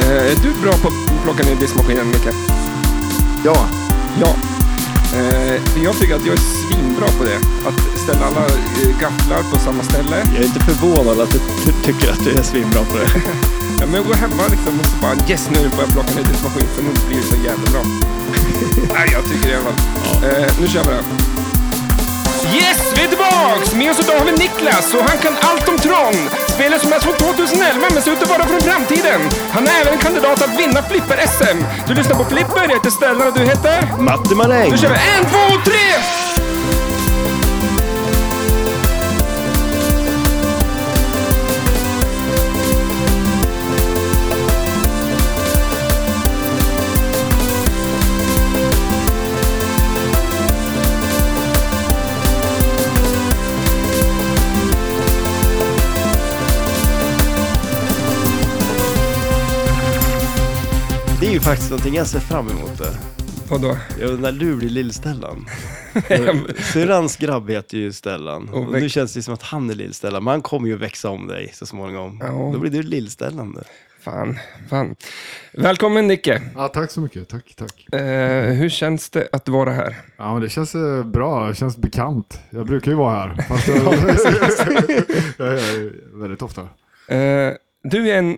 Eh, Är du bra på att plocka ner diskmaskinen, Micke? Ja, Ja. Eh, jag tycker att jag är svinbra på det. Att ställa alla eh, gafflar på samma ställe. Jag är inte förvånad att du ty- tycker att du är svinbra på det. Ja, men jag går hemma liksom och så bara yes nu får jag plocka ner diskmaskinen för nu blir det så jävla bra. Nej, jag tycker det i alla fall. Eh, nu kör vi det. Yes, vi är tillbaks! Med oss idag har vi Niklas och han kan allt om Tron. Spelet som är från 2011 men ser ut att vara från framtiden. Han är även kandidat att vinna Flipper-SM. Du lyssnar på Flipper, jag heter Stellan och du heter? Matte Maläng! Nu kör vi! En, två, tre! Det är ju faktiskt någonting jag ser fram emot. Det. Vadå? Jag undrar, du blir Lill-Stellan. men- Syrrans grabb heter ju Stellan. Och Och, väx- nu känns det som att han är Lill-Stellan, men han kommer ju växa om dig så småningom. Ja. Då blir du Lill-Stellan. där. Fan, fan. Välkommen Nicke. ja tack så mycket. Tack, tack. Eh, hur känns det att vara här? Ja, men det känns eh, bra. Det känns bekant. Jag brukar ju vara här. Fast jag, jag är här väldigt ofta. Eh, du är en,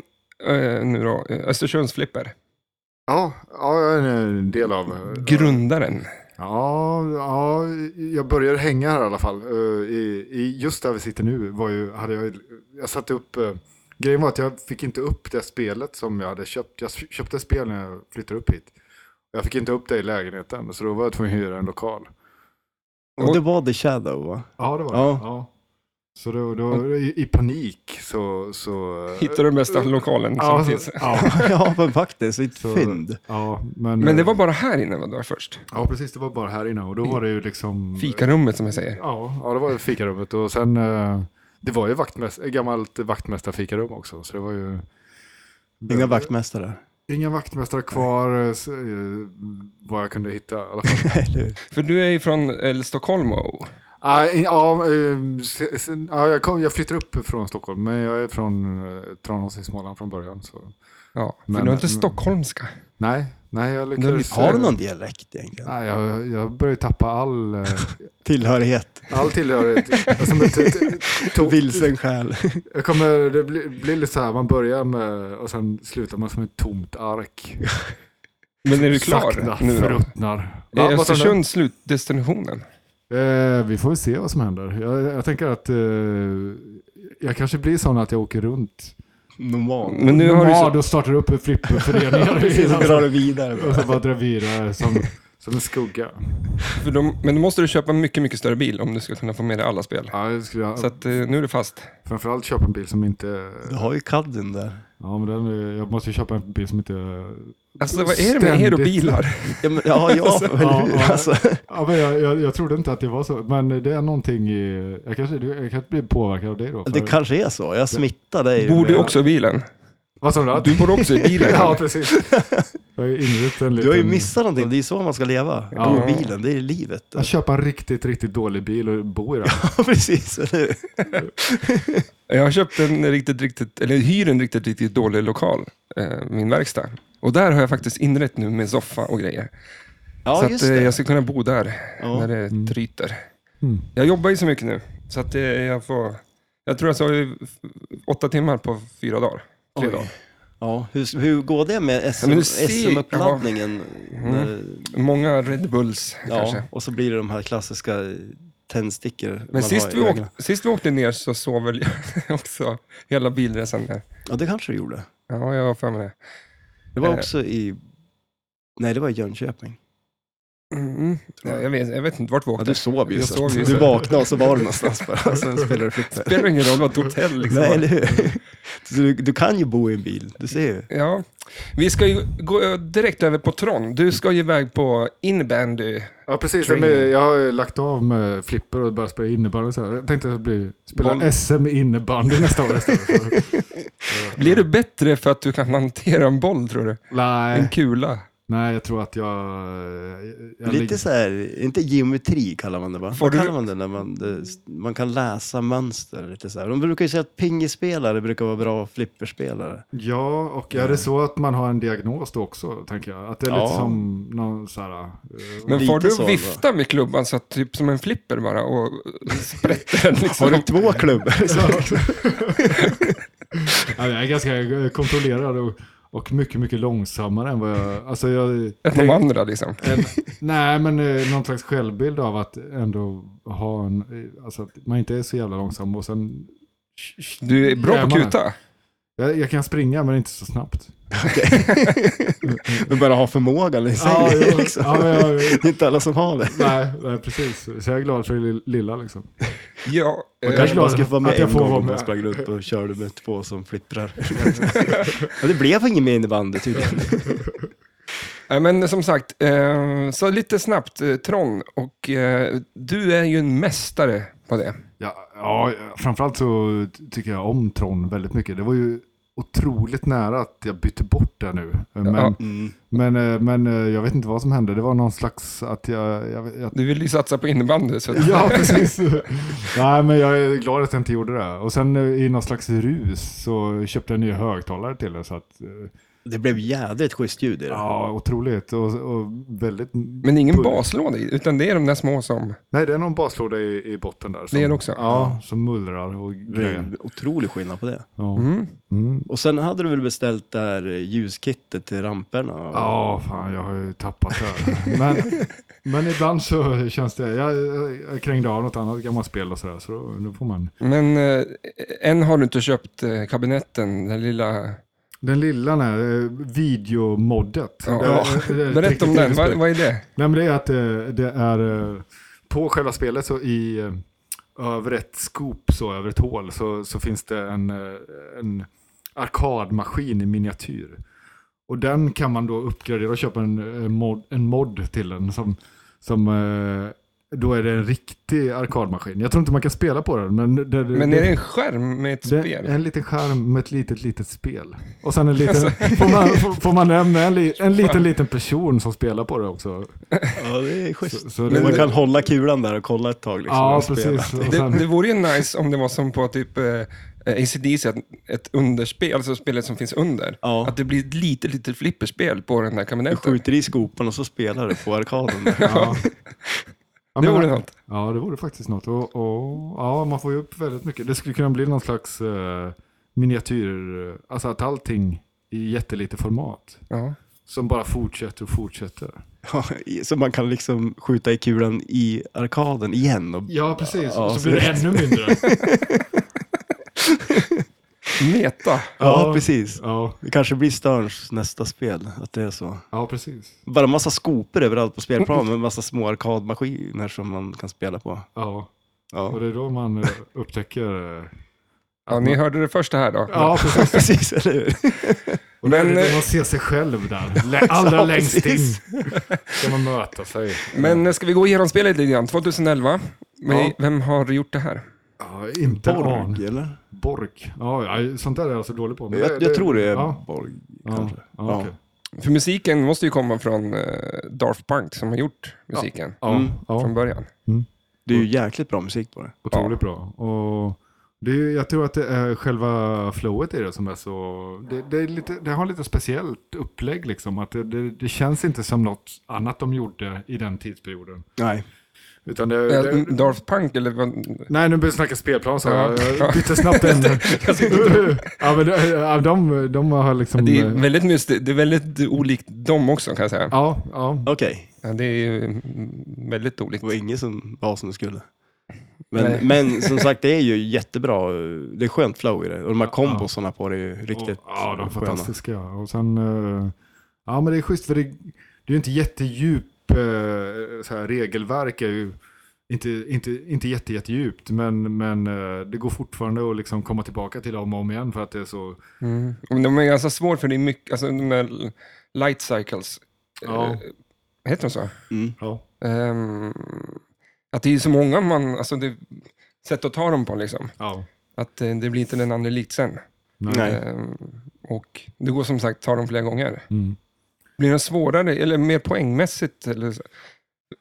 eh, nu då, eh, Östersundsflipper. Ja, ja, jag är en del av... eh, Grundaren. Ja, ja, jag börjar hänga här i alla fall. Eh, I, i just där vi sitter nu var ju, hade jag, jag satte upp, eh, grejen var att jag fick inte upp det spelet som jag hade köpt. Jag köpte ett spel när jag flyttade upp hit. Jag fick inte upp det i lägenheten, så då var jag tvungen att hyra en lokal. Och det var The Shadow va? Ja, det var Ja. det. Ja. Så då, Mm. då i, i panik så... så Hittar du den bästa lokalen som ja, finns. så, ja, ja, men faktiskt. Ett Så- fynd. ja, men, Men det var bara här inne vad det var först? Ja, precis. Det var bara här inne och då var det ju liksom... Fikarummet som jag säger. Ja, ja det var fikarummet och sen eh, det var ju vaktmäst, ett gammalt vaktmästarfikarum också. Så det var ju Inga vaktmästare. inga vaktmästare kvar eh, s- eh, vad jag kunde hitta i alla fall. Eller hur? För du är ju från eh, Stockholm och... Ah, in- ja, eh, se- sen- ja, jag, kom, jag flyttade upp från Stockholm men jag är från eh, Tranås i Småland från början. Så. Ja, för Men- du är inte men- stockholmska. Nej, nej jag Men lyckades. visst Har du någon dialekt egentligen? Nej, jag, jag började tappa all, eh, Tillhörighet? all tillhörighet. Alltså, Som ett, ett, to- Vilsen själ? Jag kommer, det blir, blir lite så här, man börjar med och sen slutar man som ett tomt ark. Men är du klar Sakta nu då? förruttnar. Va, Är vad sa du? Östersund slutdestinationen? Eh, vi får väl se vad som händer. Jag, jag tänker att eh, jag kanske blir sån att jag åker runt. Normal. Men nu har du Nomad så... och startar upp en flipperföreningar. Precis, så innan- drar du vidare. bara. och så bara drar vidare som, som en skugga. För de, men då måste du köpa en mycket, mycket större bil om du ska kunna få med dig alla spel. Ja, jag skulle, jag- Så att, eh, nu är du fast. Framförallt köpa en bil som inte... Du har ju kadden där. Ja, men den, är- jag måste ju köpa en bil som inte Alltså vad är det med er och Ständigt. bilar? Ja, men, ja, ja, eller ja, hur? ja. Alltså. Ja, men jag, jag, jag trodde inte att det var så, men det är någonting i... Jag kanske, jag kanske blir påverkad av dig då. Det kanske är så. Jag smittar dig. Bor du med- också i bilen? Vad sa du? Du bor också i bilen? Ja, precis. Jag har ju inrett en liten... Du har ju missat någonting. Det är ju så man ska leva. Ja. Bo i bilen, det är livet. Att köpa en riktigt, riktigt dålig bil och bo i den. Precis, eller hur? Jag har köpt en riktigt, riktigt, eller hyr en riktigt, riktigt dålig lokal, eh, min verkstad. Och där har jag faktiskt inrett nu med soffa och grejer. så Ja, att just eh, det. jag ska kunna bo där Ja. när det tryter. Mm. Jag jobbar ju så mycket nu, så att eh, jag får... Jag tror jag sa ju f- åtta timmar på fyra dagar. Tre Oj. dagar. Ja, hur, hur går det med SM Ja, men du ser- SM-uppladdningen? När- Många Red Bulls Ja, kanske. och så blir det de här klassiska tändstickor. man har Men sist i vi, åkte, ögonen. sist vi åkte ner så sov väl jag också hela bilresan där. Ja, det kanske du gjorde. Ja, jag har för mig det. Det var Eh. också i... Nej, det var i Jönköping. Mm. Ja, jag, vet, jag vet inte vart vi Ja, åkte. du sov ju. Jag så sov att ju, du så- vaknade och så var du någonstans bara. Och sen spelade du Det flipper. spelar ingen roll, det var ett hotell liksom. Nej, eller hur? Så Du, du kan ju bo i en bil, du ser ju. Ja, vi ska ju gå direkt över på Tron. Du ska ju iväg på inbandy. Ja, precis. Training. Men jag har ju lagt av med flipper och börjat spela innebandy. och Så här. Jag tänkte att jag blir, spela Boll. SM i innebandy nästa år istället. för- Blir du bättre för att du kan hantera en boll, tror du? En Nej, kula? Nej, jag tror att jag... jag Lite ligger- så här, inte geometri kallar man det va? Får Vad du- kallar man det när man, det, man kan läsa mönster? Lite så här. De brukar ju säga att pingisspelare brukar vara bra flipperspelare. Ja, och är det så att man har en diagnos då också, tänker jag? Att det är lite Ja. som någon så här... eh, Men får Lite du så, vifta med klubban så att typ som en flipper bara och sprätter den liksom? Har du två klubbor? ja, jag är ganska kontrollerad och, och mycket, mycket långsammare än vad jag... Alltså jag än de andra liksom? en, nej, men eh, någon slags självbild av att ändå ha en... eh, Alltså att man inte är så jävla långsam och sen... Du är bra på Jävlar. kuta. Jag, jag kan springa, men inte så snabbt. Du bara har förmågan i sig. Ja, ja, liksom. ja, ja, ja. Det är inte alla som har det. Nej, nej, precis. Så jag är glad för det li- lilla liksom. Ja, eh, kanske Kanske bara bara ska ska få vara med med Att jag en en får gång vara om gång man med. man sprang sprang runt och körde med två som flipprar. ja, det blev ingen mer innebandy tydligen. nej, men som sagt, eh, så lite snabbt, eh, Tron, och eh, du är ju en mästare på det. Ja, ja, framförallt så ty- tycker jag om Tron väldigt mycket. Det var ju otroligt nära att jag bytte bort det nu. Men, Ja. Mm. men, eh, men eh, jag vet inte vad som hände. Det var någon slags att jag... jag, vet- jag Du vill ju satsa på innebandy, så ja, precis. Nej, men jag är glad att jag inte gjorde det. Och sen eh, i någon slags rus så köpte jag en ny högtalare till det. Så att, eh, Det blev jädrigt schysst ljud i det. ja, otroligt. Och, och väldigt... men ingen Bull- baslåda i, utan det är de där små som... Nej, det är någon baslåda i, i botten där. Som, Det är det också. Ja, som mullrar och Det är grejer. en otrolig skillnad på det. Ja. Mm. Mm. Och sen hade du väl beställt det här eh, ljuskittet till ramperna? Ja, fan jag har ju tappat det. här. Men, men ibland så känns det, jag, jag krängde av något annat gammalt spel och sådär, så då, då får man. Men eh, än har du inte köpt eh, kabinetten, den lilla... Den lilla där, eh, videomoddet. Ja. Det- det- det- det- Berätta om det- den, vad, vad är det? Nej men det är att det, det är, eh, på själva spelet så i, eh, över ett skop så, över ett hål, så, så finns det en, eh, en arkadmaskin i miniatyr. Och den kan man då uppgradera och köpa en, eh, mod, en mod till den som, som eh, då är det en riktig arkadmaskin. Jag tror inte man kan spela på den, men... Det, Men är det en skärm med ett det- spel? En liten skärm med ett litet, litet spel. Och sen en liten, Alltså. får man, får, får man nämna en, li, en liten, liten person som spelar på det också. ja det är schysst. Så, så Men man det- kan hålla kulan där och kolla ett tag. Liksom, när Ja, man spelar. precis. Och Det, sen, det vore ju nice om det var som på typ eh, ACDC, ett, ett underspel, alltså spelet som finns under. Ja. Att det blir ett litet, litet flipperspel på den här Du kabinetten. skjuter i skopan och så spelar du på arkaden. ja. Ja, Det men- vore något. Ja, det vore faktiskt något. Och, och, ja, man får ju upp väldigt mycket. Det skulle kunna bli någon slags eh, miniatyr, alltså att allting i jättelite format. Ja. Som bara fortsätter och fortsätter. Ja, i- så man kan liksom skjuta i kulan i arkaden igen. Och... Ja, precis. Ja, och så så blir det det- ännu mindre. Meta. Ja, precis. Ja, Det kanske blir Sterns nästa spel, att det är så. ja precis. Bara massa skopor överallt på spelplanen med massa små arkadmaskiner som man kan spela på. Ja, och Ja, det är då man eh, upptäcker... eh, Ja, ni hörde det första här då. Ja, precis. precis, eller hur? Och det är Men, då eh, man ser sig själv där. Lä- Allra Ja, längst in. precis. Ska man möta sig. Men eh, ska vi gå igenom spelet lite grann? 2011. Men Ja. Vem har gjort det här? Ja, inte en aning. Borg, eller? Bork. Ja, ja, sånt där är jag alltså dålig på. Men Jag, jag tror det är Ja, Borg, ja, kanske. ja, okej. För musiken måste ju komma från eh, Daft Punk som har gjort musiken ja, Mm. ja från början. Det är ju jäkligt bra musik på det. otroligt bra. Och det är, ju- jag tror att det är själva flowet i det som är så... Det, det, är lite, det har lite speciellt upplägg liksom. Att det, det, det känns inte som något annat de gjorde i den tidsperioden. Nej. Utan det, Eh, det, Daft Punk eller vad? Nej, nu börjar vi snacka spelplan så Ja. jag jag bytte snabbt ämne. ja, men de, ja, de, de har liksom... Det är väldigt mystiskt. Det är väldigt olikt dem också kan jag säga. Ja, ja. Okej, Ja, det är ju mm, väldigt olikt. det var ingen som var som det skulle. Men, Nej. men som sagt, det är ju jättebra. Det är skönt flow i det. Och de här kombosarna på det är ju riktigt Och, ja, de är sköna. fantastiska. Och sen, eh, ja men det är schysst för det, det är ju inte jättedjup, eh, så här, regelverk är ju inte, inte, inte jätte, jättedjupt, men, men eh, det går fortfarande att liksom komma tillbaka till dem och om igen för att det är så, Mm. Men de är ganska svåra för det är mycket, alltså de här light cycles. Ja. Eh, heter de så? Mm. ja. Ehm, att det är så många man, alltså det sätt att ta dem på liksom. ja. Att eh, det blir inte den andra likt sen. Nej. Nej. Ehm, och det går som sagt att ta dem flera gånger. Mm. Blir den svårare eller mer poängmässigt? Eller så?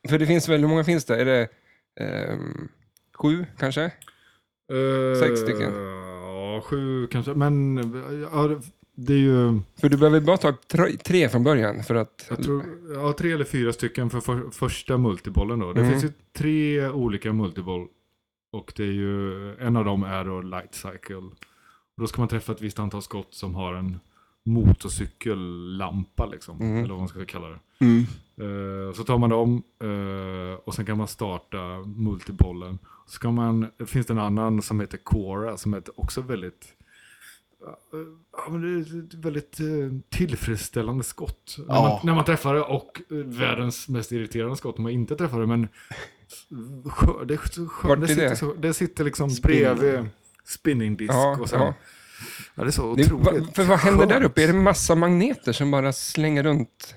För det finns väl, hur många finns det? Är det ehm, sju kanske? Sex stycken. Eh, Ja, sju kanske. Men ja, det- det är ju... För du behöver bara ta tre- tre från början för att... Jag tror, ja, tre eller fyra stycken för, för första multibollen då. Det Mm. finns ju tre olika multiboll. Och det är ju, en av dem är då light cycle. Och då ska man träffa ett visst antal skott som har en motorcykellampa liksom. Mm. Eller vad man ska kalla det. Mm. Eh, så tar man dem eh, och sen kan man starta multibollen. Så kan man, det finns det en annan som heter Quora som är också väldigt eh, Ja, men det är ett väldigt eh, tillfredsställande skott. När, Ja. man, när man träffar det och eh, världens mest irriterande skott när man inte träffar det. Men skö- det, är så Vart skönt. är det, sitter, det? så, det sitter liksom Spinning. bredvid spinning-disk. Ja, och sen, ja. ja. det är så Det, va, otroligt för vad händer där skönt. uppe? Är det massa magneter som bara slänger runt?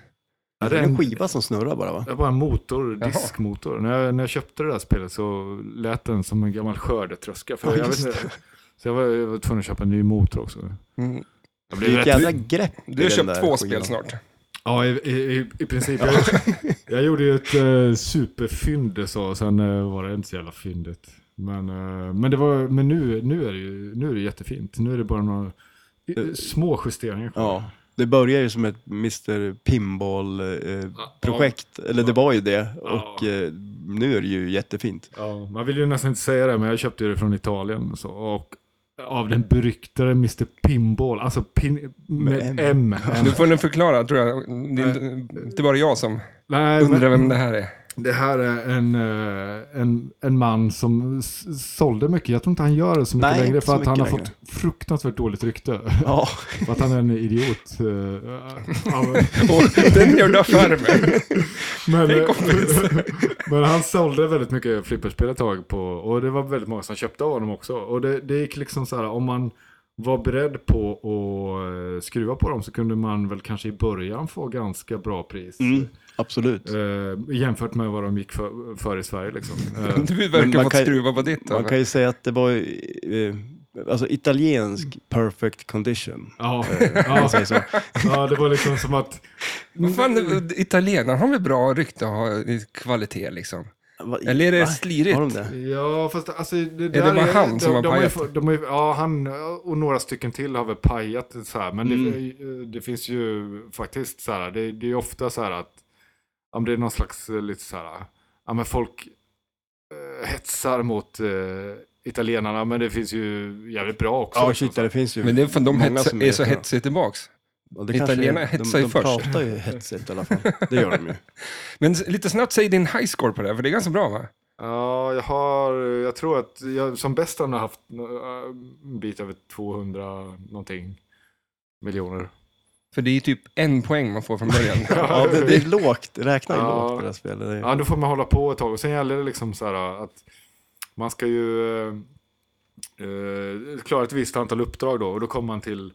Ja, Det är en skiva som snurrar bara va? Det var en motor, Jaha. diskmotor. När jag, när jag köpte det där spelet så lät den som en gammal skördetröska. För Ja, jag vet just inte, så jag var, jag var tvungen att köpa en ny motor också. Mm. Jag Det är ett rätt- jävla grepp i Du har den köpt där två skivan. spel snart. Ja, i, i, i- i princip. Jag, jag gjorde ju ett eh, superfynd så, och sen eh, var det inte så jävla fyndigt. Men, eh, men, det var, men nu, nu, är det ju, nu är det jättefint. Nu är det bara några i- Eh, små justeringar kvar. Ja. Det börjar ju som ett Mr Pinball-projekt, eller det var ju det, och eh, nu är det ju jättefint. Ja, man vill ju nästan inte säga det, men jag köpte ju det från Italien och så. Och av den beryktade Mr. Pinball, alltså pin, med M. M. Nu får du förklara, tror jag. Det, är inte- det var jag som Nej, undrade men vem det här är. det här är en, eh, en, en man som s- sålde mycket. Jag tror inte han gör det så mycket Nej, längre inte så för att han har mycket fått fruktansvärt dåligt rykte. Ja, för att han är en idiot. eh, av- Och den gör du affärer med. Men, Hej, eh, kompis. men han sålde väldigt mycket flipperspel ett tag på och det var väldigt många som köpte av honom också. Och det, det gick liksom så här, om man var beredd på att eh, skruva på dem så kunde man väl kanske i början få ganska bra pris. mm, absolut. Eh, jämfört med vad de gick för, för i Sverige liksom. Eh, Du Men verkar man ha fått kan- skruva på ditt. Man eller? kan ju säga att det var ju, eh, alltså Mm. italiensk perfect condition. ja, Om man ja, säger så. ja, det var liksom som att... Vad fan, italienarna har väl bra rykte att ha i kvalitet liksom? Va- Eller är det va? slirigt? Har de det? Ja, fast alltså... Det, det där bara han de, som har de ju pajat? fått- de har ju- Ja, han och några stycken till har väl pajat det så här. Men Mm. det, det finns ju faktiskt så här, det, det är ju ofta så här att, om det är någon slags eh, lite så här, ja men folk eh, hetsar mot eh, italienarna, men det finns ju jävligt bra också. Ja, liksom, shit, ja, det finns ju. Men det är för de många hets, som är så heter- hetsiga tillbaks. Ja, det kanske är- italienarna de- hetsar ju de först. De pratar ju hetsigt i alla fall. Det gör de ju. Men s- lite snabbt, säg din high score på det här, för det är ganska bra va? Ja, jag har, jag tror att jag som bäst har jag haft eh, en bit över 200 någonting miljoner. För det är typ en poäng man får från början. Ja, det, det är lågt. Räkna är Ja. lågt på det här spelet. Det är- Ja, då får man hålla på ett tag. Och sen gäller det liksom så här att man ska ju eh, eh, klara ett visst antal uppdrag då. Och då kommer man till,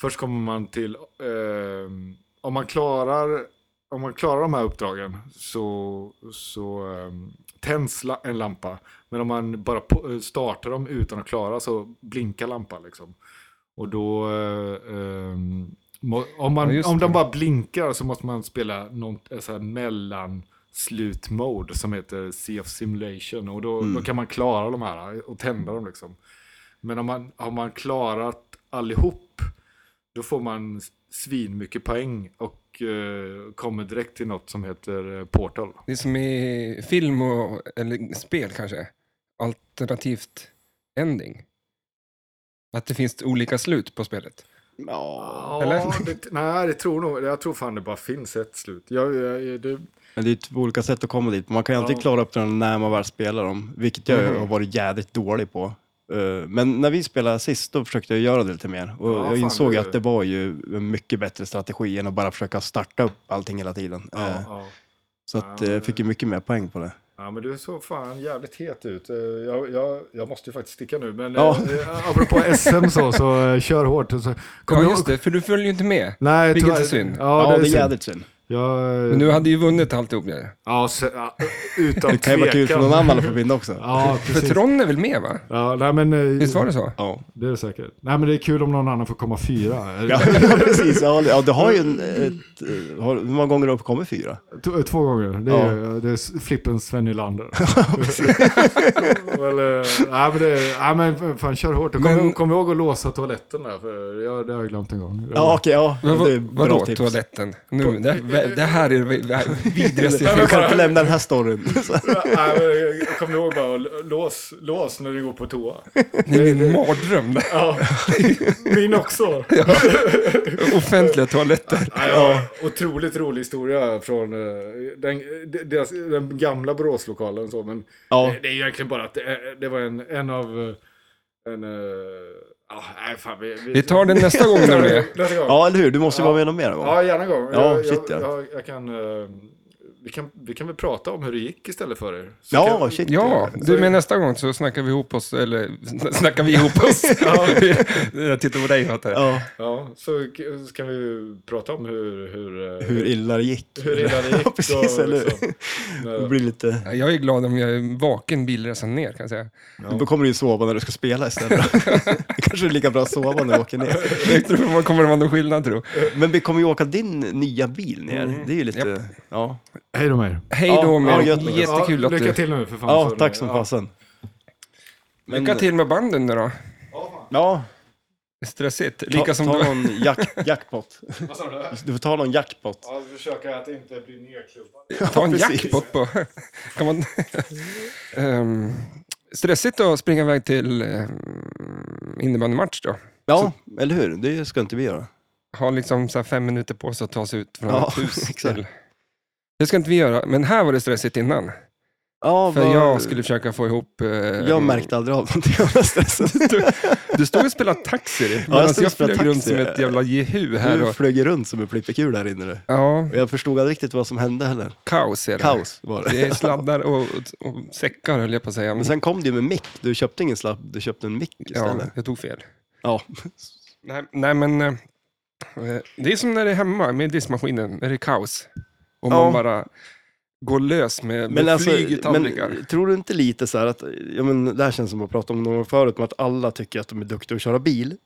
först kommer man till, eh, om man klarar, om man klarar de här uppdragen så, så eh, tänds la- en lampa. Men om man bara på, eh, startar dem utan att klara så blinkar lampan liksom. Och då, eh, eh, må- om, Ja, man, just om det. de bara blinkar så måste man spela någon eh, så här mellan slutmode som heter Sea of Simulation. Och Mm. då, då kan man klara de här och tända dem liksom. Men om man, har man klarat allihop, då får man svin mycket poäng och eh, kommer direkt till något som heter eh, Portal. Det är som i film och, eller spel kanske. Alternativt ending. Att det finns olika slut på spelet. Ja. Eller? det, nej, det tror nog, jag tror fan det bara finns ett slut. Jag, jag, det, Men det är ju två olika sätt att komma dit. Man kan ju alltid Ja. klara upp dem när man väl spelar dem, vilket jag Mhm. har varit jädrigt dålig på. Eh, Men när vi spelade sist, då försökte jag göra det lite mer. Och Ja, jag fan, insåg det- att det var ju en mycket bättre strategi än att bara försöka starta upp allting hela tiden. ja, Eh, ja. Så att Ja, eh, det- jag fick ju mycket mer poäng på det. Ja, men du såg fan jävligt het ut. Eh, Jag, jag, jag måste ju faktiskt sticka nu, men Ja. eh, apropå SM så, så eh, kör hårt. Så, Ja, jag- just det, för du följer ju inte med. Nej, Mm. Vilket tyvärr- är synd. Ja, det är synd. jädrigt synd. Jag, Men nu hade ju vunnit alltihop ju. ja, så, ja, utan Det kan ju vara kul för någon tvekan. annan att få vinna också. Ja, För precis. Tron är väl med va? Ja, nej, men, eh, Visst var det så? Ja, Det är det säkert. Nej, men det är kul om någon annan får komma fyra. ja precis. Ja, det- ja, det har ju en, ett, eh, har, hur många gånger har det kommit fyra? T- eh, Två gånger. Det är, det är s- flippen Sven Nylander. Well, eh, nej, men det, nej, men fan kör hårt. Och Kom, Men- kom ihåg att låsa toaletten där, för jag, det har jag glömt en gång. Ja, okej, ja. Men det är vad, bra vadå tips. toaletten? Nu, det, det här är det- det här är det vidrigaste jag Vi har kan hört. inte lämna den här storyn. nej, men, kom ihåg bara lås, lås när du går på toa. Det är min mardröm. det här. Ja, min också. Offentliga toaletter. Ja, otroligt rolig historia från eh, den, de- deras, den gamla Boråslokalen. och Så, men Ja. det, det är ju egentligen bara att det, eh, det var en, en av... eh, En, eh, ah, nej, fan, vi, Vi tar den nästa gång när det är. Nästa gång. Ja, Ja, eller hur? Du måste ju vara med någon mer gång. gärna en gång. Ja, jag, shit, ja. jag, jag, jag kan, eh, vi, kan, vi kan väl prata om hur det gick istället för er. Så Ja, kan- shit. Ja, du med nästa gång så snackar vi ihop oss, eller sn- snackar vi ihop oss. Jag tittar på dig, fattar jag. Ja, ja, så, k- så kan vi prata om hur... Hur, eh, hur illa det gick. hur illa det gick. Ja, precis, och eller hur? liksom, när- Det blir lite... Ja, Jag är glad om jag är vaken bilresan ner, kan jag säga. Då kommer du ju sova när du ska spela istället. det kanske är lika bra att sova när du åker ner. Jag tror man kommer det vara någon skillnad, tror Men vi kommer ju åka din nya bil ner. Mm. Det är ju lite... Japp. Ja. Hej då med er. Hej Ja, då, ja, med gött, Niklas. Jättekul ja, att du... Lycka till nu för fan. ja, så- tack som ja. fasen. Men- Lycka till med banden nu då. Ja, Stressigt. ta, Lika som ta du... någon jack, jackpot. Vad sa du? Du får ta någon jackpot. Ja, försöka att inte bli nedklubbad. Ta en precis. jackpot på. Kan man... Ehm, stressigt att springa iväg till um, innebandymatch då. Ja, eller hur? Det ska inte vi göra. Ha liksom så här fem minuter på sig att ta sig ut från Ja, ett hus. exakt. Till... Det ska inte vi göra, men här var det stressigt innan. Ja, För vad- jag skulle försöka få ihop... eh, jag märkte aldrig av någonting av den här stressen. Du stod och spelade taxi medan jag jag, stod och spelade flög runt taxi. som ett jävla jehu här. Du Och... flög ju runt som en flippekul här inne. du. Ja, Och jag förstod aldrig riktigt vad som hände heller. kaos är det. Kaos var det. Det är sladdar och, och, och säckar höll jag på att säga. Men, Men sen kom det ju med mick. Du köpte ingen slapp, du köpte en mick ja, istället. jag tog fel. Ja. Nej, nej men eh, eh, det är som när det är hemma med diskmaskinen, när det är kaos. Och Ja. man bara går lös med, Men, med alltså, flyg i tallrikar. men tror du inte lite så här att, ja men det här känns som att prata om någon gång förut, men att alla tycker att de är duktiga att köra bil.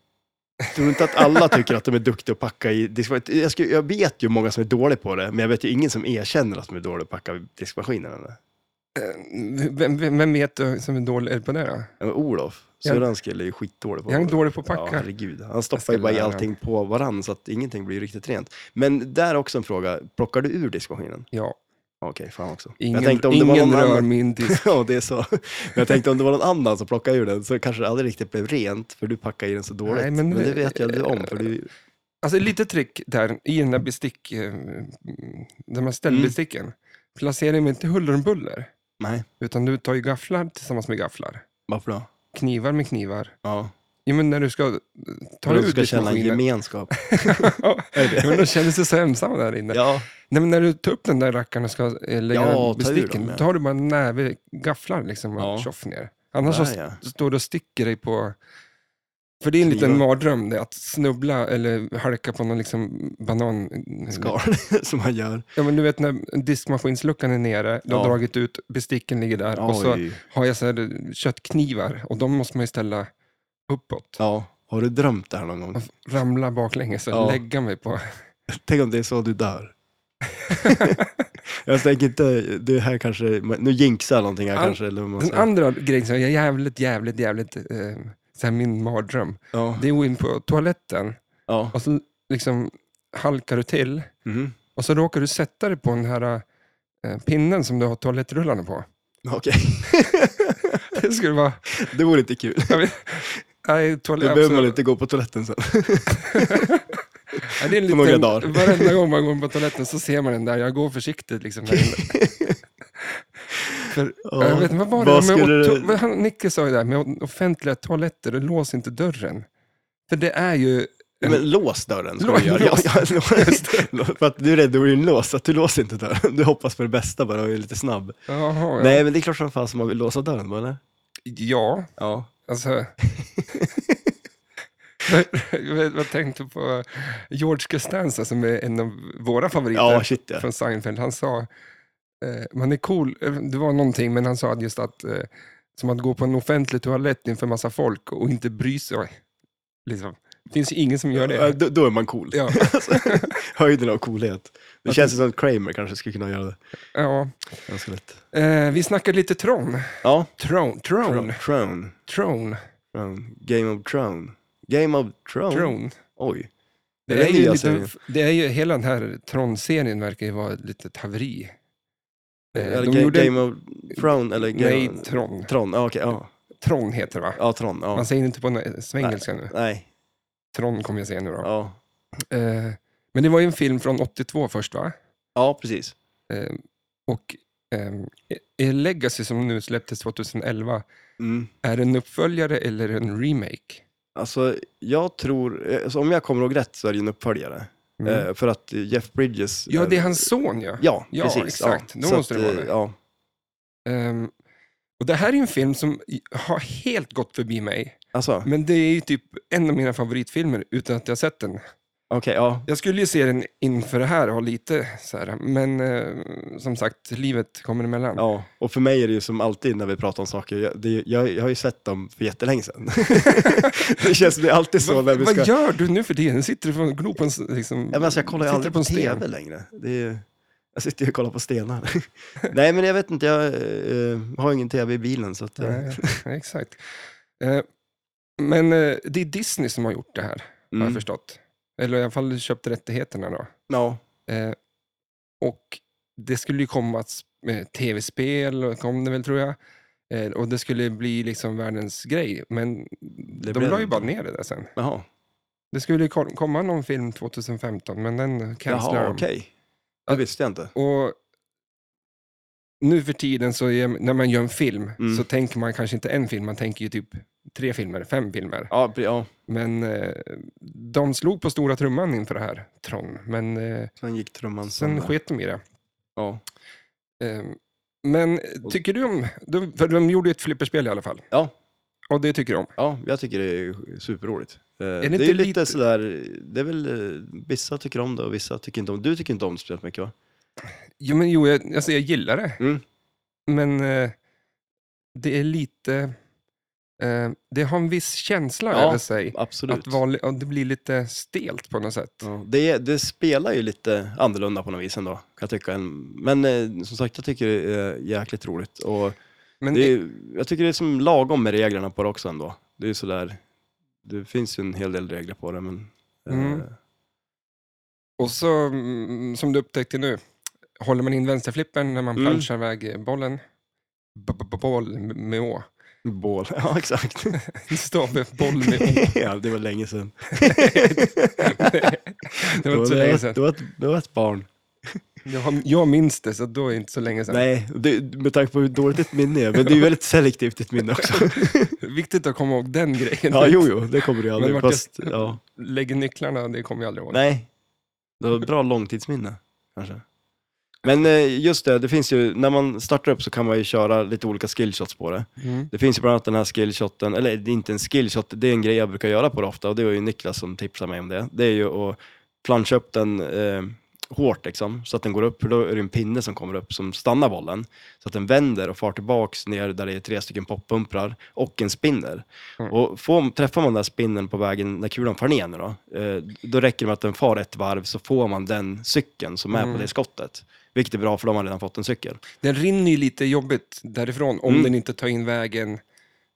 Tror du inte att alla tycker att de är duktiga att packa i diskmaskinen? Jag, skulle- jag vet ju många som är dåliga på det, men jag vet ju ingen som erkänner att de är dåliga på att packa i diskmaskinen. Eller? Vem, vem, vem vet du som är dålig på det då? Ja, men Olof, Jag- syrrans kille, är ju skitdålig på Jag är det. dålig på att Ja, packa. herregud. Han stoppar ska ju bara i lära allting på varann så att ingenting blir riktigt rent. Men där är också en fråga, plockar du ur diskmaskinen? Ja, Okej, fan också. ingen tänkte om det var ingen någon rör annan- min disk. Ja, det är så. Men jag tänkte om det var någon annan som plockade ur den så kanske det aldrig riktigt blev rent för du packade i den så dåligt. Nej, men men, det det- vet jag du om för du... Alltså lite trick där i den där bestick, eh, mm, de här ställbesticken. Mm. Placera dem inte huller om buller, Nej, utan du tar ju gafflar tillsammans med gafflar. varför då? Knivar med knivar. Ja, Ja, men när du ska eh, ta för att ut du ska känna en diskmaskinen. gemenskap. Ja, men de känner sig så ensamma där inne. Ja, Nej, men när du tar upp den där rackaren och ska eh, lägga Ja, ja, ta ur besticken, dem, ja. då har du bara en näve gafflar liksom, och Ja. tjoff ner. Annars Där, så st- ja. står du och sticker dig på... För det är en liten Knivar. mardröm det, att snubbla eller halka på någon liksom banan... skal som man gör. Ja, men du vet när diskmaskinsluckan är nere, du har Ja. dragit ut, besticken ligger där och så Oj. har jag så här eh, köttknivar och de måste man ju ställa uppåt. Ja, har du drömt det här någon gång? Ramla baklänges och Ja. lägga mig på... Tänk om det är så du dör. jag tänker inte, det här kanske, nu jinxar jag någonting här An- kanske. Eller vad man Den säger. andra grejen som är jävligt, jävligt, jävligt, eh, så här min mardröm, Ja, det är att gå in på toaletten ja. och så liksom halkar du till Mm. och så råkar du sätta dig på den här eh, pinnen som du har toalettrullarna på. Okej, Det skulle vara... det vore inte kul. Jag vet, nej, Då toalett, behöver man inte gå på toaletten sen. Ja, det är en på liten, några dagar. Varenda gång man går in på toaletten så ser man den där, jag går försiktigt liksom där inne. För, Ja, jag vet inte, vad var vad det? skulle Med, du- to- vad han, Nicke sa ju där, med offentliga toaletter, lås inte dörren. För det är ju Men lås dörren ska Lås- du göra. Ja, lås. ja, lås. För att du är rädd att bli inlåst, så att du låser inte dörren. Du hoppas på det bästa bara och är lite snabb. Jaha, ja. Nej, men det är klart som fan som man vill låsa dörren, va, eller? Ja, Ja. alltså. Jag jag tänkte på George Costanza som är en av våra favoriter Ja, shit ja. från Seinfeld. Han sa, eh, man är cool, eh, det var någonting, men han sa just att, eh, som att gå på en offentlig toalett inför massa folk och inte bry sig. Liksom. Det finns ju ingen som gör Ja, det. Då, då är man cool. Ja, Höjden av coolhet. Det Att- känns som att Kramer kanske skulle kunna göra det ja. ganska lätt. Eh, vi snackade lite Tron. Ja. Tron, Tron, Throne. Throne. Tron, Throne. Game of Throne. Game of Throne. Tron. Oj. Det Det är är, ju nya lite, serien. det är ju, hela den här Tron-serien verkar ju vara ett litet haveri. Eh, Eller de Ga- gjorde- Game of Throne eller Game Nej, of... Tron. Tron. Ja, okej. ja. Tron heter det va? ja, Tron. Ja. Man säger inte på nä- svengelska nu. Nej. Tron kommer jag säga nu då. Ja. Eh, men det var ju en film från 82 först va? ja, precis. Eh, och ehm, är Legacy som nu släpptes 2011, Mm. är det en uppföljare eller en remake? Alltså, jag tror... eh, Alltså, om jag kommer ihåg rätt så är det ju en uppföljare. Mm. Eh, för att eh, Jeff Bridges... ja, är- det är hans son ja. Ja, Ja, precis. exakt. Då Så måste det att, vara eh, det. Ja. Ehm, och det här är ju en film som i- har helt gått förbi mig. Alltså, okej, Men det är ju typ en av mina favoritfilmer utan att jag har sett den. ja. Jag skulle ju se den inför det här och ha lite så här, men eh, som sagt, livet kommer emellan. Ja, och för mig är det ju som alltid när vi pratar om saker, jag, det, jag, jag har ju sett dem för jättelänge sedan. det känns som det är alltid så Vad- när vi ska... Vad gör du nu för tiden? Sitter du och glor på en... s- Liksom, Ja, men alltså, jag kollar ju sitter aldrig på på en sten? tv längre. Det är, ju- jag sitter ju och kollar på stenar. Nej, men jag vet inte, jag eh, har ingen tv i bilen. Så att, eh, Nej, nej, exakt. Eh, men eh, det är Disney som har gjort det här, har jag mm. förstått. Eller i alla fall köpt rättigheterna då. Ja, Eh, och det skulle ju komma ett s- eh, tv-spel, och kom det väl tror jag. Eh, och det skulle bli liksom världens grej, men de blev la det ju inte. bara ner det där sen. jaha. Det skulle ju kom- komma någon film 2015, men den cancelade Jaha, de. okej. Det visste jag inte. Och nu för tiden, så är, när man gör en film, Mm. så tänker man kanske inte en film, man tänker ju typ tre filmer, fem filmer. Ja, pre- ja. Men eh, de slog på stora trumman inför det här, Tron. Men eh, sen gick trumman sen sönder. sket de i det. Ja. Eh, men tycker du om... De, för de gjorde ju ett flipperspel i alla fall. Ja. Och det tycker du om. Ja, jag tycker det är superroligt. Eh, det inte är ju lite, lite- sådär, det är väl, eh, vissa tycker om det och vissa tycker inte om Du tycker inte om det speciellt mycket va? Jo, men jo, jag, alltså, jag gillar det. Mm. Men eh, det är lite... Eh, det har en viss känsla Ja, över sig. Absolut. Att vara, li- ja, det blir lite stelt på något sätt. ja, det, det spelar ju lite annorlunda på något vis ändå, kan jag tycka. Men eh, som sagt, jag tycker det är jäkligt roligt. Och Men det är, jag tycker det är som lagom med reglerna på det också ändå. Det är ju sådär, det finns ju en hel del regler på det, men eh, Mm. Och så, mm, som du upptäckte nu, håller man in vänsterflippen när man Mm. planchar iväg bollen. B- b- Boll med å. bål. Ja, exakt. Det står med boll med å. ja, det var länge sedan. Det var inte så länge sedan. Det var ett, det var ett barn. Jag, har- jag minns det, så då är det inte så länge sedan. Nej, det, med tanke på hur dåligt ditt minne är, men det är ju väldigt selektivt ditt minne också. Viktigt att komma ihåg den grejen. ja, jo, jo, det kommer du ju aldrig. Men vart jag- fast, ja. Lägger nycklarna, det kommer jag aldrig ihåg. Nej, det var ett bra långtidsminne kanske. Men eh, just det, det finns ju, när man startar upp så kan man ju köra lite olika skillshots på det. Mm. Det finns ju bland annat den här skillshoten, eller det är inte en skillshot, det är en grej jag brukar göra på det ofta och det var ju Niklas som tipsade mig om det. Det är ju att plancha upp den eh, hårt liksom, så att den går upp, för då är det en pinne som kommer upp som stannar bollen. Så att den vänder och far tillbaks ner där det är tre stycken poppumprar och en spinner. Mm. Och får, träffar man den här spinnen på vägen när kulan far ner nu då, eh, då räcker det med att den far ett varv så får man den cykeln som är Mm. på det skottet. Vilket är bra för då har man redan fått en cykel. Den rinner ju lite jobbigt därifrån om Mm. den inte tar in vägen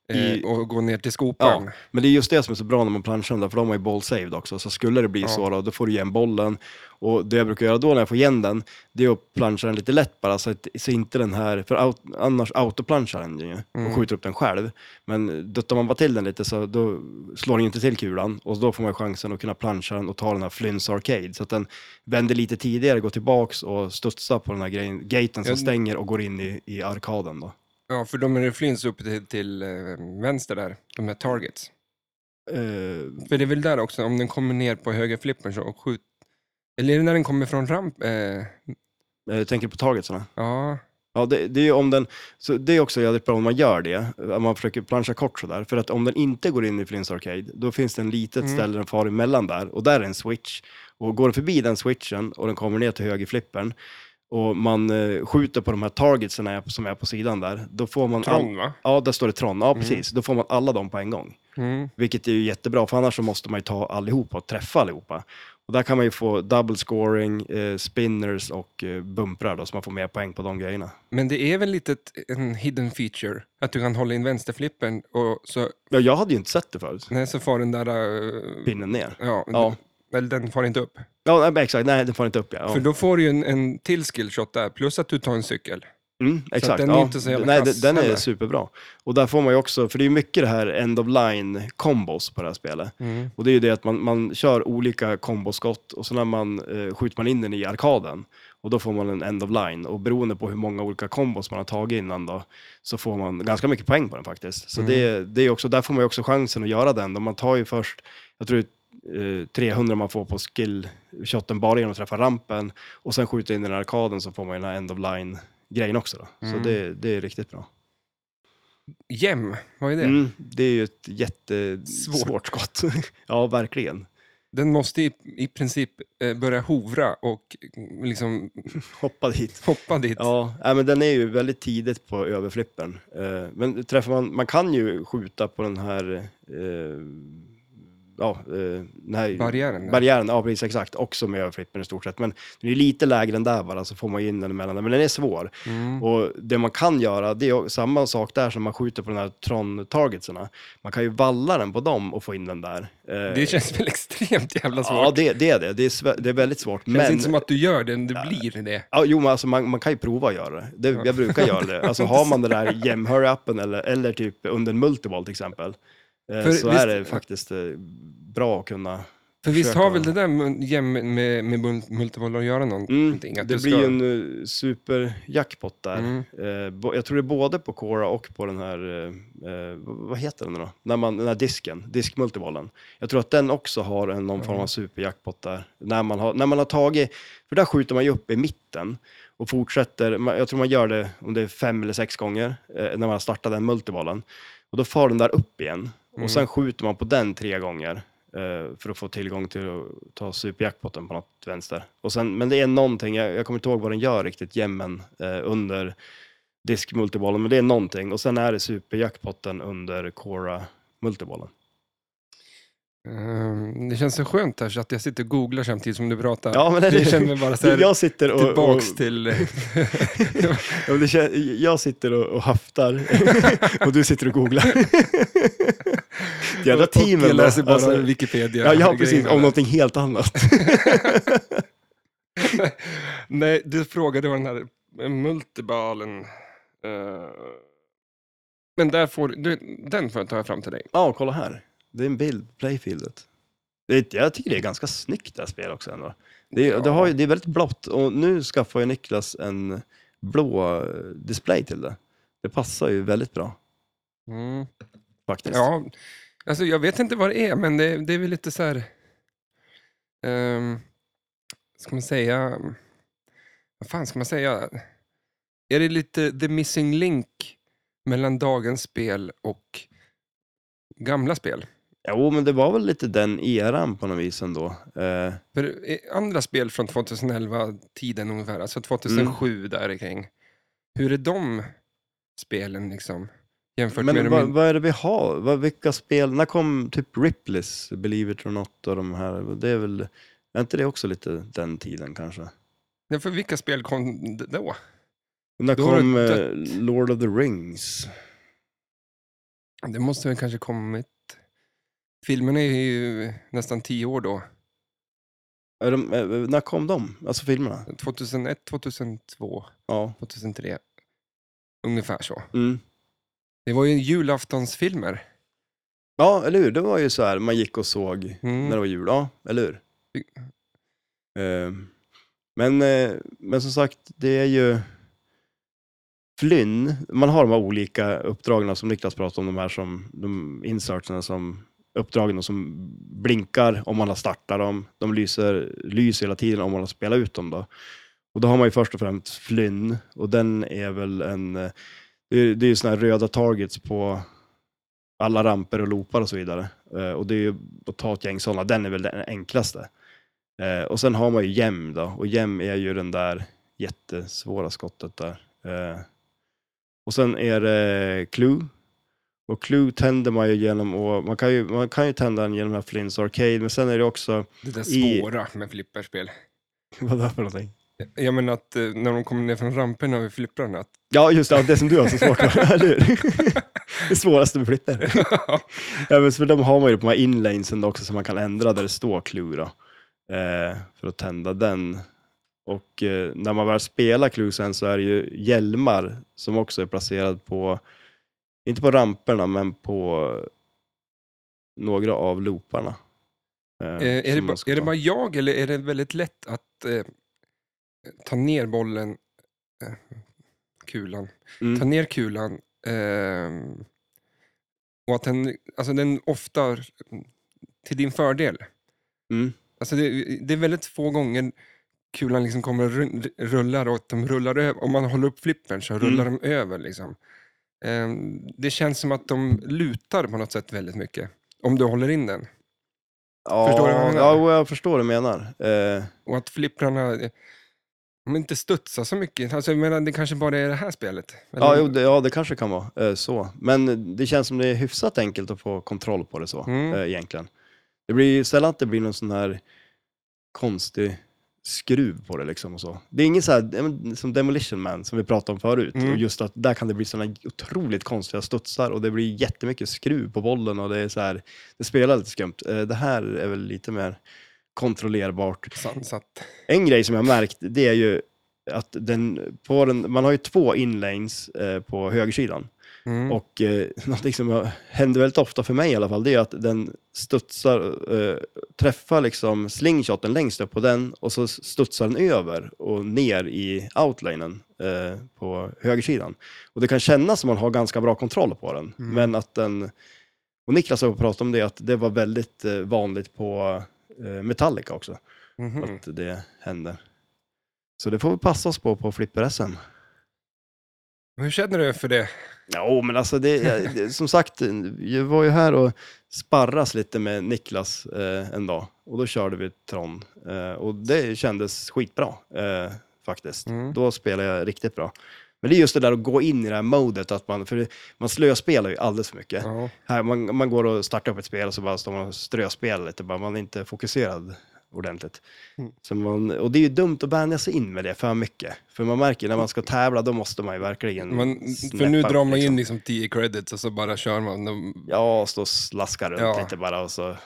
eh, I- och går ner till skopan. Ja, men det är just det som är så bra när man planchar dem där, för de har ju ball saved också. Så skulle det bli Ja. så då, då får du igen bollen. Och det jag brukar göra då när jag får igen den, det är att plancha den lite lätt bara, så, att, så inte den här, för out, annars autoplanchar den ju Mm. och skjuter upp den själv. Men duttar man bara till den lite så då slår den ju inte till kulan och då får man ju chansen att kunna plancha den och ta den här Flynns Arcade. Så att den vänder lite tidigare, går tillbaks och studsar på den här grejen, gaten som Ja. stänger och går in i, i arkaden då. Ja, för de är det flins upp till, till eh, vänster där, de här targets. Eh, För det är väl där också, om den kommer ner på högerflippen så och skjut... Eller är det när den kommer från ramp... Eh, jag tänker på targetsarna. ja, Ja, det, det är ju om den, så det är också jävligt bra om man gör det, att man försöker plancha kort sådär. För att om den inte går in i Flins Arcade, då finns det en litet ställe den far emellan där och där är en switch. Och går den förbi den switchen och den kommer ner till högerflippern och man eh, skjuter på de här targetsen är- som är på sidan där, då får man... all- Tron va? Ja, där står det Tron. Ja, precis. Då får man alla dem på en gång. Mm. Vilket är ju jättebra, för annars så måste man ju ta allihopa och träffa allihopa. Och där kan man ju få double scoring, eh, spinners och eh, bumprar då, så man får mer poäng på de grejerna. Men det är väl lite ett, en hidden feature, att du kan hålla in vänsterflippen och så, Ja, jag hade ju inte sett det förut. nej, så far den där... eh, Pinnen ner. ja, Ja. Eller den far inte upp. Ja, nej, men exakt. Nej, den får inte upp. Ja. För Ja. då får du ju en, en till skillshot där, plus att du tar en cykel. Mm, exakt. den är ja. inte så jävla Nej, kass den- den är heller. superbra. Och där får man ju också, för det är ju mycket det här end of line combos på det här spelet. Och det är ju det att man, man kör olika komboskott och så när man eh, skjuter man in den i arkaden och då får man en end of line och beroende på hur många olika kombos man har tagit innan då så får man ganska mycket poäng på den faktiskt. Mm. Så det, det är också, där får man ju också chansen att göra den. Och Man tar ju först, jag tror det är, eh, 300 man får på skill shotten bara genom att träffa rampen och sen skjuta in den i arkaden så får man ju den här end of line grejen också då. Mm. Så det, det är riktigt bra. Jäm, vad är det? Mm, det är ju ett jättesvårt Svårt. skott. ja, verkligen. Den måste i, i princip eh, börja hovra och mm, liksom Hoppa dit. hoppa dit. Ja, nej, men den är ju väldigt tidigt på överflippen. Eh, Men träffar man, man kan ju skjuta på den här, eh, ja, eh, den här Barriären. där. barriären, ja precis exakt, också med överflippen i stort sett. Men den är ju lite lägre än där bara, så får man ju in den emellan där. Men den är svår. Mm. Och det man kan göra, det är ju samma sak där som man skjuter på de här Tron-targetserna. Man kan ju valla den på dem och få in den där. Eh, Det känns väl extremt jävla svårt. Ja, det, det är det. Det är, sve- det är väldigt svårt. Det känns men... inte som att du gör det, men det blir det. Ja, jo, men alltså man, man kan ju prova att göra det. det jag brukar göra det. Alltså har man den där jämhöra-appen eller, eller typ under en multiball till exempel, eh, För så visst- är det faktiskt eh, bra att kunna... För visst försöka- har väl det där med, jäm- med, med mul- multiboll att göra Mm, någonting? att det du ska- blir ju en eh, superjackpot där. Mm. Eh, bo- jag tror det är både på Cora och på den här, eh, eh, vad heter den då? När man, den här disken, diskmultibollen. Jag tror att den också har en, någon Mm. form av superjackpot där. När man, har, när man har tagit, för där skjuter man ju upp i mitten och fortsätter, man, jag tror man gör det om det är fem eller sex gånger eh, när man har startat den multibollen. Och då far den där upp igen Mm. och sen skjuter man på den tre gånger. eh, För att få tillgång till att ta superjackpotten på något vänster. Och sen, men det är någonting, jag, jag kommer inte ihåg vad den gör riktigt jämmen eh, under diskmultibollen, men det är någonting. Och sen är det superjackpotten under Cora multibollen. Ehm, Det känns så skönt här så att jag sitter och googlar samtidigt som du pratar. Ja, men det känner mig bara så här, jag sitter och, och, tillbaks till... ja, men det kän- jag sitter och, och höftar och du sitter och googlar. Jävla teamen. Och jag läser då. bara Alltså, Wikipedia. ja, ja, precis. grejerna Om där. någonting helt annat. Nej, du frågade vad den här eh, multibalen... eh, Men där får du, den får jag ta fram till dig. Ja, kolla här. Det är en bild, playfieldet. Det, är- jag tycker det är ganska snyggt det här spelet också ändå. Det, är- det, har, ju- det är väldigt blått och nu skaffar ju Niklas en blå eh, display till det. Det passar ju väldigt bra Mm. faktiskt. Ja, alltså jag vet inte vad det är, men det, det är väl lite så här... ehm, ska man säga... Vad fan ska man säga? Är det lite the missing link mellan dagens spel och gamla spel? Jo, men det var väl lite den eran på något vis ändå. Eh, För eh, andra spel från 2011-tiden ungefär, alltså 2007 Mm. där kring. Hur är de spelen liksom? Jämfört med men de vad, in- vad är det vi har? Vad, vilka spel? När kom typ Ripley's Believe It or Not och de här? Det är väl, är inte det också lite den tiden kanske? Ja, för vilka spel kom d- då? När Då har kom det eh, dött. Lord of the Rings? Det måste väl kanske kommit... Filmen är ju nästan tio år då. Är de, eh, när kom de? Alltså filmerna? 2001, 2002, Ja. 2003. Ungefär så. Mm. Det var ju julaftonsfilmer. Ja, eller hur? Det var ju så här, man gick och såg Mm. när det var jul. Ja, eller hur? Ty- Ehm, men, eh, men som sagt, det är ju Flynn. Man har de här olika uppdragen som Niklas pratade om, de här som, de insertserna som uppdragen och som blinkar om man har startat dem. De lyser, lyser hela tiden om man har spelat ut dem. Då. Och då har man ju först och främst Flynn och den är väl en, eh, det är, det är ju sådana här röda targets på alla ramper och loopar och så vidare. Eh, och det är ju att ta ett gäng sådana, den är väl den enklaste. Eh, och sen har man ju jäm då, och jäm är ju den där jättesvåra skottet där. Eh, och sen är det Clue. Och Clue tänder man ju genom, och man kan ju, man kan ju tända den genom den här Flynns Arcade, men sen är det också, Det där I- svåra med flipperspel. vad är det för någonting? Jag menar att eh, när de kommer ner från ramperna vid flipprarna, att Ja, just det, ja, det som du har så svårt för, eller hur? Det svåraste med flyttar. ja, men så för de har man ju på de här inlanesen då också som man kan ändra där det står Clue då, eh, för att tända den. Och eh, när man väl spelar Clue sen så är det ju hjälmar som också är placerad på, inte på ramperna, men på några av looparna. eh, Eh, är, det som ba, man ska är det ta. bara jag eller är det väldigt lätt att eh, ta ner bollen, eh, kulan, Mm. ta ner kulan ehm, och att den, alltså den ofta mm, till din fördel. Mm. Alltså det, det är väldigt få gånger kulan liksom kommer och ru- rullar och att de rullar över. Om man håller upp flippern så rullar Mm. de över. Liksom. Ehm, det känns som att de lutar på något sätt väldigt mycket. Om du håller in den. Ja, Förstår du vad jag menar? mm. Ja, jag förstår vad du menar. Eh, Och att flipprarna eh, de inte studsar så mycket. Alltså, jag menar, det kanske bara är det här spelet. Eller- Ja, jo, det, ja, det kanske kan vara eh, så. Men det känns som det är hyfsat enkelt att få kontroll på det så, Mm. eh, egentligen. Det blir ju sällan att det blir någon sån här konstig skruv på det liksom och så. Det är inget så här, ja, men som Demolition Man som vi pratade om förut, Mm. och just att där kan det bli såna otroligt konstiga studsar och det blir jättemycket skruv på bollen och det är så här, det spelar lite skumt. Eh, Det här är väl lite mer kontrollerbart. Sansat. En grej som jag har märkt, det är ju att den, på den, man har ju två inlanes eh, på högersidan. Mm. Och eh, någonting som har- händer väldigt ofta för mig i alla fall, det är att den studsar, eh, träffar liksom slingshoten längst upp på den och så studsar den över och ner i outlinen eh, på högersidan. Och det kan kännas som man har ganska bra kontroll på den, Mm. men att den, och Niklas har pratat om det, att det var väldigt eh, vanligt på eh, Metallica också Mhm. att det händer. Så det får vi passa oss på på flipper-SM. Hur känner du för det? Ja, men alltså det, jag- det, som sagt, jag var ju här och sparras lite med Niklas eh, en dag och då körde vi Tron eh, och det kändes skitbra eh, faktiskt. Mm. Då spelade jag riktigt bra. Men det är just det där att gå in i det här modet, att man, för man slöspelar ju alldeles för mycket. Ja. Här, man, man går och startar upp ett spel och så bara står man och ströspelar lite, bara, man är inte fokuserad ordentligt. Mm. Så man, och det är ju dumt att bänja sig in med det för mycket. För man märker när man ska tävla, då måste man ju verkligen Man, för Mm, snäppa nu upp, drar man in liksom. liksom 10 credits och så bara kör man. De- Ja, stå och slaska runt Ja. lite bara och så...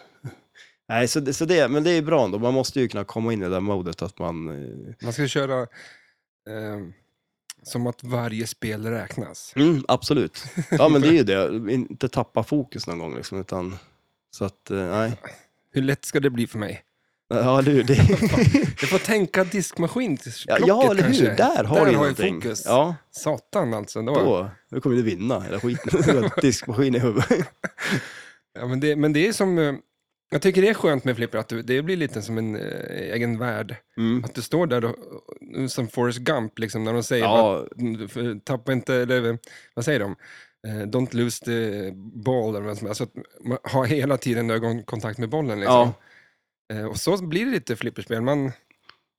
Nej, så, det- så det, men det är bra ändå. Man måste ju kunna komma in i det där modet att man... eh, Man ska köra ehm, som att varje spel räknas. Mm, absolut. Ja, men det är ju det. Inte tappa fokus någon gång liksom, utan... Så att, eh, nej. Hur lätt ska det bli för mig? Ja, du, det... Jag får tänka diskmaskin till Ja, klocket ja eller kanske. hur? Där har du jag någonting. fokus. Ja, Satan alltså. Då. då, då kommer du vinna hela skiten. Diskmaskin i huvudet. Ja, men, det, men det är som... eh, Jag tycker det är skönt med flipper, att du, det blir lite som en eh, egen värld. Mm. Att du står där och, som Forrest Gump, liksom, när de säger "Mm, Ja, att, för- tappa inte, eller eh, vad säger de? Eh, Don't lose the ball, eller vad som helst. Alltså att man har hela tiden ögonkontakt med bollen. Liksom. ja. Eh, Och så blir det lite flipperspel. Man,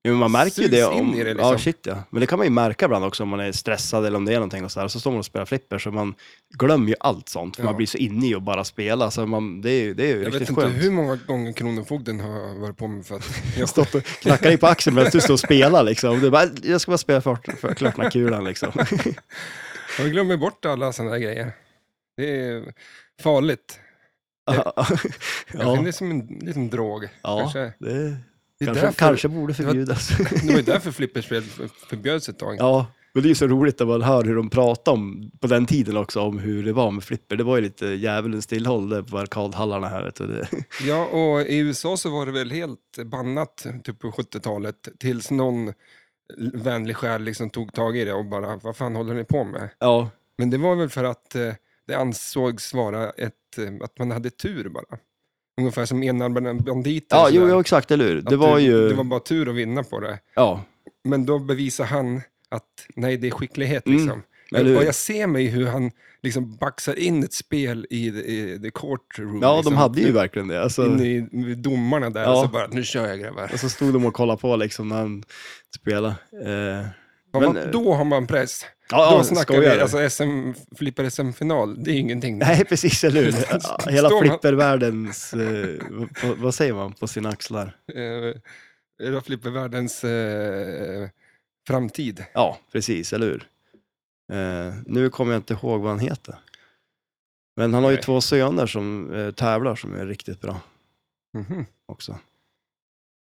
Jo, men man märker ju Sugs det. in Om, i det, liksom. Ja, shit ja. Men det kan man ju märka ibland också om man är stressad eller om det är någonting och så där. Så står man och spelar flipper så man glömmer ju allt sånt. För Ja. man blir så inne i att bara spela. Så man, det är ju, det är ju jag vet riktigt inte skönt. hur många gånger Kronofogden har varit på mig för att... Jag stoppar och knackar dig på axeln medan du står och spelar liksom. Du bara, jag ska bara spela för, för klart den här kulan liksom. Jag glömmer bort alla sådana där grejer. Det är farligt. ja, Jag känner det är som en liten drog. ja, Kanske. det Det är kanske, därför- kanske borde förbjudas. Det var ju därför flipperspel förbjöds ett tag. Ja, men det är ju så roligt att man hör hur de pratar om, på den tiden också, om hur det var med flipper. Det var ju lite djävulens tillhåll där på arkadhallarna här. Vet du. Det- Ja, och i USA så var det väl helt bannat typ på 70-talet tills någon vänlig själ liksom tog tag i det och bara, vad fan håller ni på med? Ja, Men det var väl för att eh, det ansågs vara ett, eh, att man hade tur bara. Ungefär som enarmade banditer. och ja sådär. jo, jo, exakt, eller hur? Att Det var ju... Det var bara tur att vinna på det. Ja, men då bevisar han att nej, det är skicklighet. Mm, Liksom. Men eller hur? och jag ser mig hur han liksom baxar in ett spel i, the- i the courtroom. Ja, liksom. de hade ju verkligen det. Alltså, In i med domarna där Ja. Alltså, och så bara, nu kör jag grabbar. och så stod de och kollade på liksom när han spelade. Eh, Har men- man, då har man press. ja, då ja, snackar vi, skojar du? alltså SM, flipper SM-final, det är ju ingenting. Nej, precis, eller hur? Hela Står man- flippervärldens, eh, vad- vad säger man, på sina axlar. Eh, Det var flippervärldens eh, framtid. Ja, precis, eller hur? Eh, nu kommer jag inte ihåg vad han heter. Men han har ju Nej. två söner som eh, tävlar som är riktigt bra Mhm, också.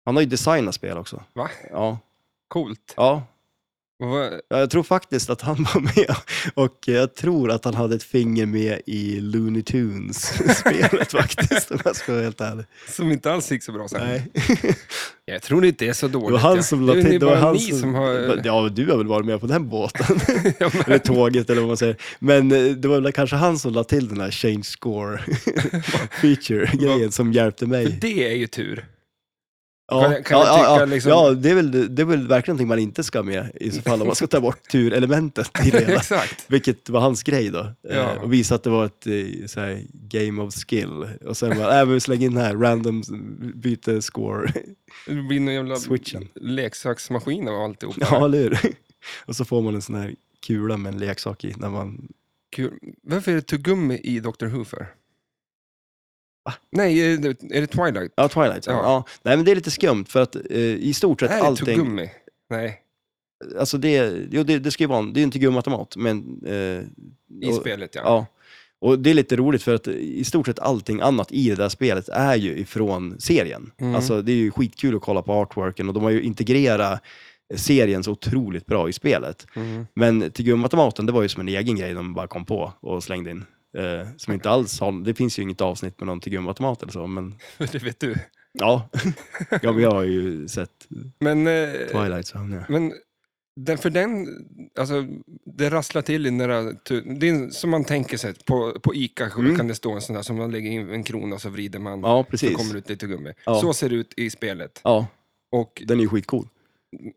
Han har ju designat spel också. Va? Ja, Coolt. ja. Och vad- Ja, Jag tror faktiskt att han var med och eh, jag tror att han hade ett finger med i Looney Tunes-spelet faktiskt, om jag ska vara helt ärlig. Som inte alls gick så bra sen. Nej. Jag tror inte det är så Det var dåligt. ja. han som la Det är ju till. Det var bara han ni som har... Ja, du har väl varit med på den båten? Ja, men- eller tåget eller vad man säger. Men eh, det var väl kanske han som la till den här change score feature-grejen som hjälpte För mig. det är ju tur. Ja, kan- kan ja, jag tycka ja, ja. liksom- ja det, är väl, det är väl verkligen någonting man inte ska med i så fall om man ska ta bort turelementet i det hela. Exakt. Vilket var hans grej då. Eh, Ja. Och visa att det var ett eh, så här, game of skill. Och sen bara, äh, men släng in den här random byte score. Det blir någon jävla Switchen. leksaksmaskin av alltihop. ja, eller hur? Och så får man en sån här kula med en leksak i när man Kul. Varför är det tuggummi i Dr. Who för? Nej, är det, är det Twilight? Ja, Twilight. Ja. Ja. Ja. Nej, men det är lite skumt för att eh, i stort sett Nej, allting... tuggummi. Nej, Alltså det, jo, det, det ska ju vara en, det är ju en tuggummiautomat, men... Eh, i och, spelet ja. Ja. Och det är lite roligt för att i stort sett allting annat i det där spelet är ju ifrån serien. Mm. Alltså det är ju skitkul att kolla på artworken och de har ju integrerat serien så otroligt bra i spelet. Mm. Men tuggummiautomaten, det var ju som en egen grej de bara kom på och slängde in. Eh, som inte alls har, det finns ju inget avsnitt med någon tuggummiautomat eller så, men Det vet du. ja. ja men jag har ju sett Men, eh, Twilight Zone, ja. men den, för den, alltså, det rasslar till i några, tu- det är en- som man tänker sig, på, på Ica Mm. kan det stå en sån där som man lägger in en krona och så vrider man, Ja, så kommer precis. det ut lite gummi. Ja. Så ser det ut i spelet. Ja, Och den är ju skitcool.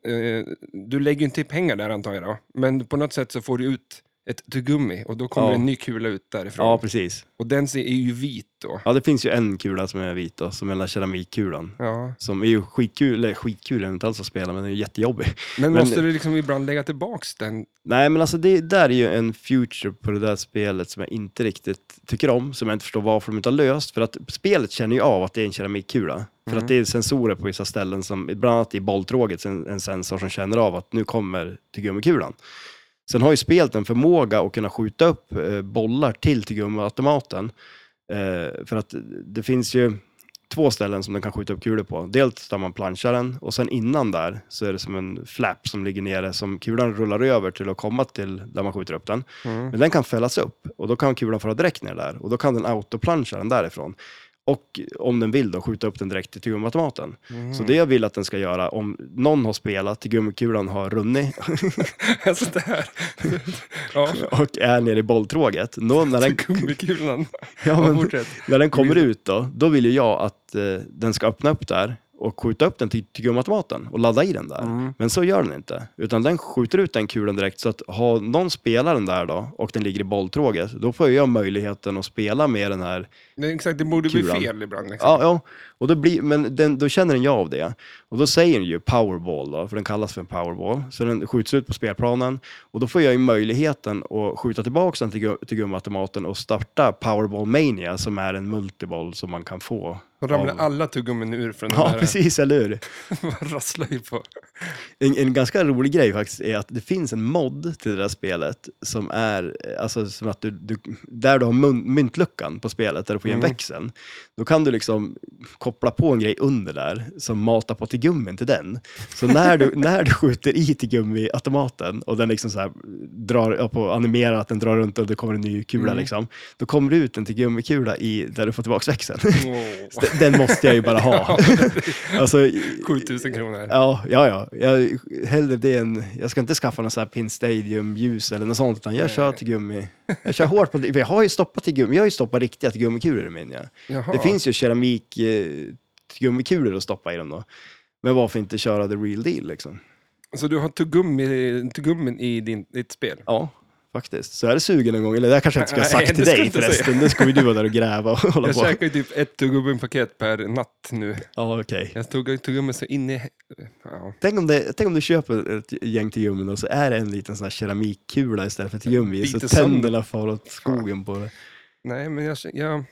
eh, du lägger ju inte pengar där antar jag då, men på något sätt så får du ut ett tuggummi och då kommer Ja. en ny kula ut därifrån. Ja, precis. Och den ser- är ju vit då. Ja, det finns ju en kula som är vit då, som är den där keramikkulan. Ja. Som är ju skitkul, eller skitkul är den inte alls att spela, men den är ju jättejobbig. Men, Men- måste du liksom ibland lägga tillbaks den? Nej, men alltså det där är ju en future på det där spelet som jag inte riktigt tycker om, som jag inte förstår varför de inte har löst. För att spelet känner ju av att det är en keramikkula. För Mm. att det är sensorer på vissa ställen, som, bland annat i bolltråget, en, en sensor som känner av att nu kommer tillgummikulan. Sen har ju spelet en förmåga att kunna skjuta upp eh, bollar till tuggummiautomaten. Eh, för att det finns ju två ställen som den kan skjuta upp kulor på. Dels där man planchar den och sen innan där så är det som en flap som ligger nere som kulan rullar över till att komma till där man skjuter upp den. Men den kan fällas upp och då kan kulan fara direkt ner där och då kan den autoplancha den därifrån. Och om den vill då skjuta upp den direkt till tuggummiautomaten. Så det jag vill att den ska göra, om någon har spelat, tuggummi-kulan har runnit alltså det här. ja, och är nere i bolltråget, då när den, gummikulan. ja, Ja, men, fortsätt. när den kommer ut då, då vill ju jag att eh, den ska öppna upp där och skjuta upp den till tuggummiautomaten och ladda i den där. Mm. Men så gör den inte, utan den skjuter ut den kulan direkt. Så att har någon spelar den där då och den ligger i bolltråget, då får jag möjligheten att spela med den här Det är Exakt, det borde Kulan. bli fel ibland. Liksom. Ja, ja. Och då blir, men den, då känner den ju av det. Och då säger den ju powerball, då, för den kallas för en powerball. Så den skjuts ut på spelplanen. Och då får jag ju möjligheten att skjuta tillbaka den till, gu- till gummiautomaten och starta powerball mania, som är en multiboll som man kan få. Då ramlar av- alla tuggummin ur från Ja, den där. precis, eller hur? Man rasslar ju på. En, en ganska rolig grej faktiskt är att det finns en mod till det där spelet som är, eh, alltså som att du, du där du har mun, myntluckan på spelet, där du får igen Mm. växeln, då kan du liksom koppla på en grej under där som matar på till gummin till den. Så när du, när du skjuter i till gummiautomaten och den liksom så här drar, ja, på, animerar att den drar runt och det kommer en ny kula Mm. liksom, då kommer det ut en till gummikula i, där du får tillbaka växeln. Så Åh. den- Den måste jag ju bara ha. Alltså, 7000 kronor. Ja, ja, ja. Jag, hellre det än, jag ska inte skaffa någon sån här Pin Stadium-ljus eller något sånt, utan jag kör till gummi. Jag kör hårt på det. Jag har ju stoppat till gummi. Jag har ju stoppat riktiga till gummikulor i min. Ja. Jaha. Det finns ju keramik eh, till gummikulor att stoppa i dem då. Men varför inte köra the real deal liksom? Så du har tuggummi, tuggummin i din, ditt spel? Ja, faktiskt. Så jag är sugen en gång, eller det här kanske jag inte ska ha Nej, sagt det till ska jag dig inte säga. förresten. Det ska ju du vara där och gräva och hålla Jag på. käkar ju typ ett tuggummin-paket per natt nu. Ja, okej. Jag tuggar ju tuggummin så in i... Ja. Tänk om, det, tänk om du köper ett gäng till gymmen och så är det en liten sån här keramikkula istället för ett gummi. Så Biter sönder. tänderna far åt skogen på det. Nej, men jag... jag